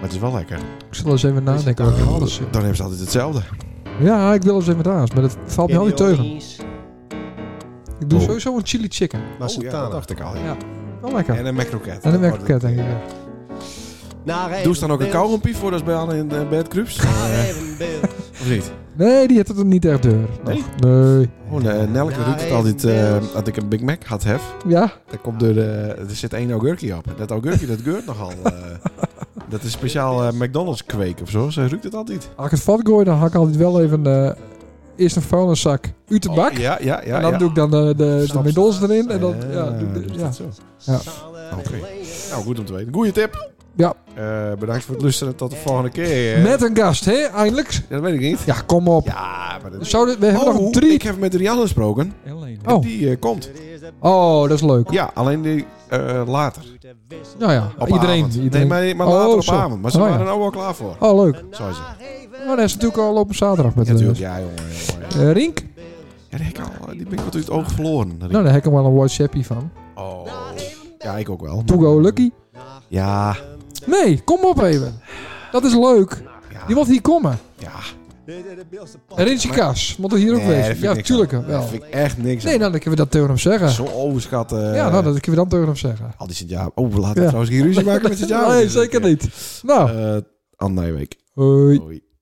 S2: Maar het is wel lekker.
S1: ik zal eens even nadenken. wat ik nog anders
S2: Dan hebben ze altijd hetzelfde.
S1: Ja, ik wil eens even naast, maar dat valt me al niet teugen. Ik doe
S2: Oh.
S1: sowieso een chili chicken.
S4: Maar
S2: Oh, ja, dat dacht ik al. ja.
S1: Ja. Wel lekker.
S2: En een macroket.
S1: En een Mac denk ik. ja.
S2: Doe ze dan ook een kauwgompie voor als bij Anne in de bedcrups? Eh, of niet?
S1: Nee, die had het er niet echt deur.
S2: Nee?
S1: Nee.
S2: Oh, nee, Nelke
S4: Ja,
S2: doet het
S4: even
S2: altijd eh
S4: beeld.
S2: dat ik een Big Mac had heb.
S1: Ja?
S2: Daar komt door de, er zit één augurkje op. Dat augurkje, dat geurt nogal. eh. dat is speciaal eh, McDonald's kweek of zo. Ze ruikt het altijd.
S1: Als ik het vat gooi, dan hak ik altijd wel even eh, eerst een vuilniszak uit de bak.
S2: Oh, Ja, ja, ja.
S1: en dan
S2: ja.
S1: doe ik dan eh, de, de,
S2: Snap,
S1: middels erin. En dan,
S2: Eh,
S1: ja, doe ik de-
S2: dus
S1: ja.
S2: dat zo.
S1: Ja.
S2: Oké. Nou, goed om te weten. Goeie tip.
S1: Ja.
S2: Eh, bedankt voor het luisteren. Tot de volgende keer.
S1: Met een gast, hè? Eindelijk.
S2: Ja, dat weet ik niet.
S1: Ja, kom op.
S2: Ja, maar dat is...
S1: Zou dit- we hebben nog
S2: Oh,
S1: drie.
S2: ik heb met Rianne gesproken.
S1: Oh.
S2: Die eh, komt.
S1: oh, dat is leuk.
S2: Ja, alleen die eh, later.
S1: Nou ja,
S2: Op
S1: iedereen.
S2: avond.
S1: iedereen.
S2: Nee, maar, maar
S1: Oh,
S2: later op
S1: zo.
S2: avond. Maar ze
S1: Oh, ja.
S2: waren er nou wel klaar voor.
S1: Oh, leuk.
S2: Zou ze.
S1: Maar dat is natuurlijk al op een zaterdag met
S2: Ja,
S1: de
S2: natuurlijk. Ja, jongen. jongen.
S1: Eh, Rink?
S2: Ja, die, heb ik al, eh, die ben ik wat uit het oog verloren. Dat ik-
S1: Nou, daar heb ik hem wel een WhatsAppie van.
S2: Oh. Ja, ik ook wel.
S1: To go lucky.
S2: Ja.
S1: Nee, kom op even. Dat is leuk.
S2: Ja.
S1: Je moet hier komen.
S2: Ja. De, de, de beeldste pad.
S1: En Rintje Kaas, moet er hier ook
S2: Nee, dat
S1: wezen.
S2: vind
S1: Ja,
S2: ik niks
S1: tuurlijk
S2: aan.
S1: wel.
S2: Dat vind ik echt niks
S1: Nee, nou, dan kunnen we dat tegen hem zeggen.
S2: aan. Zo overschat. eh,
S1: ja, nou, dat kunnen we dan tegen hem zeggen.
S2: Al die Sint-Jaap. Oh, we laten
S1: Ja.
S2: trouwens geen ruzie maken met Sint-Jaap.
S1: Nee, zeker niet. Nou,
S7: Eh, Anne Nijweek.
S1: hoi.
S7: Hoi.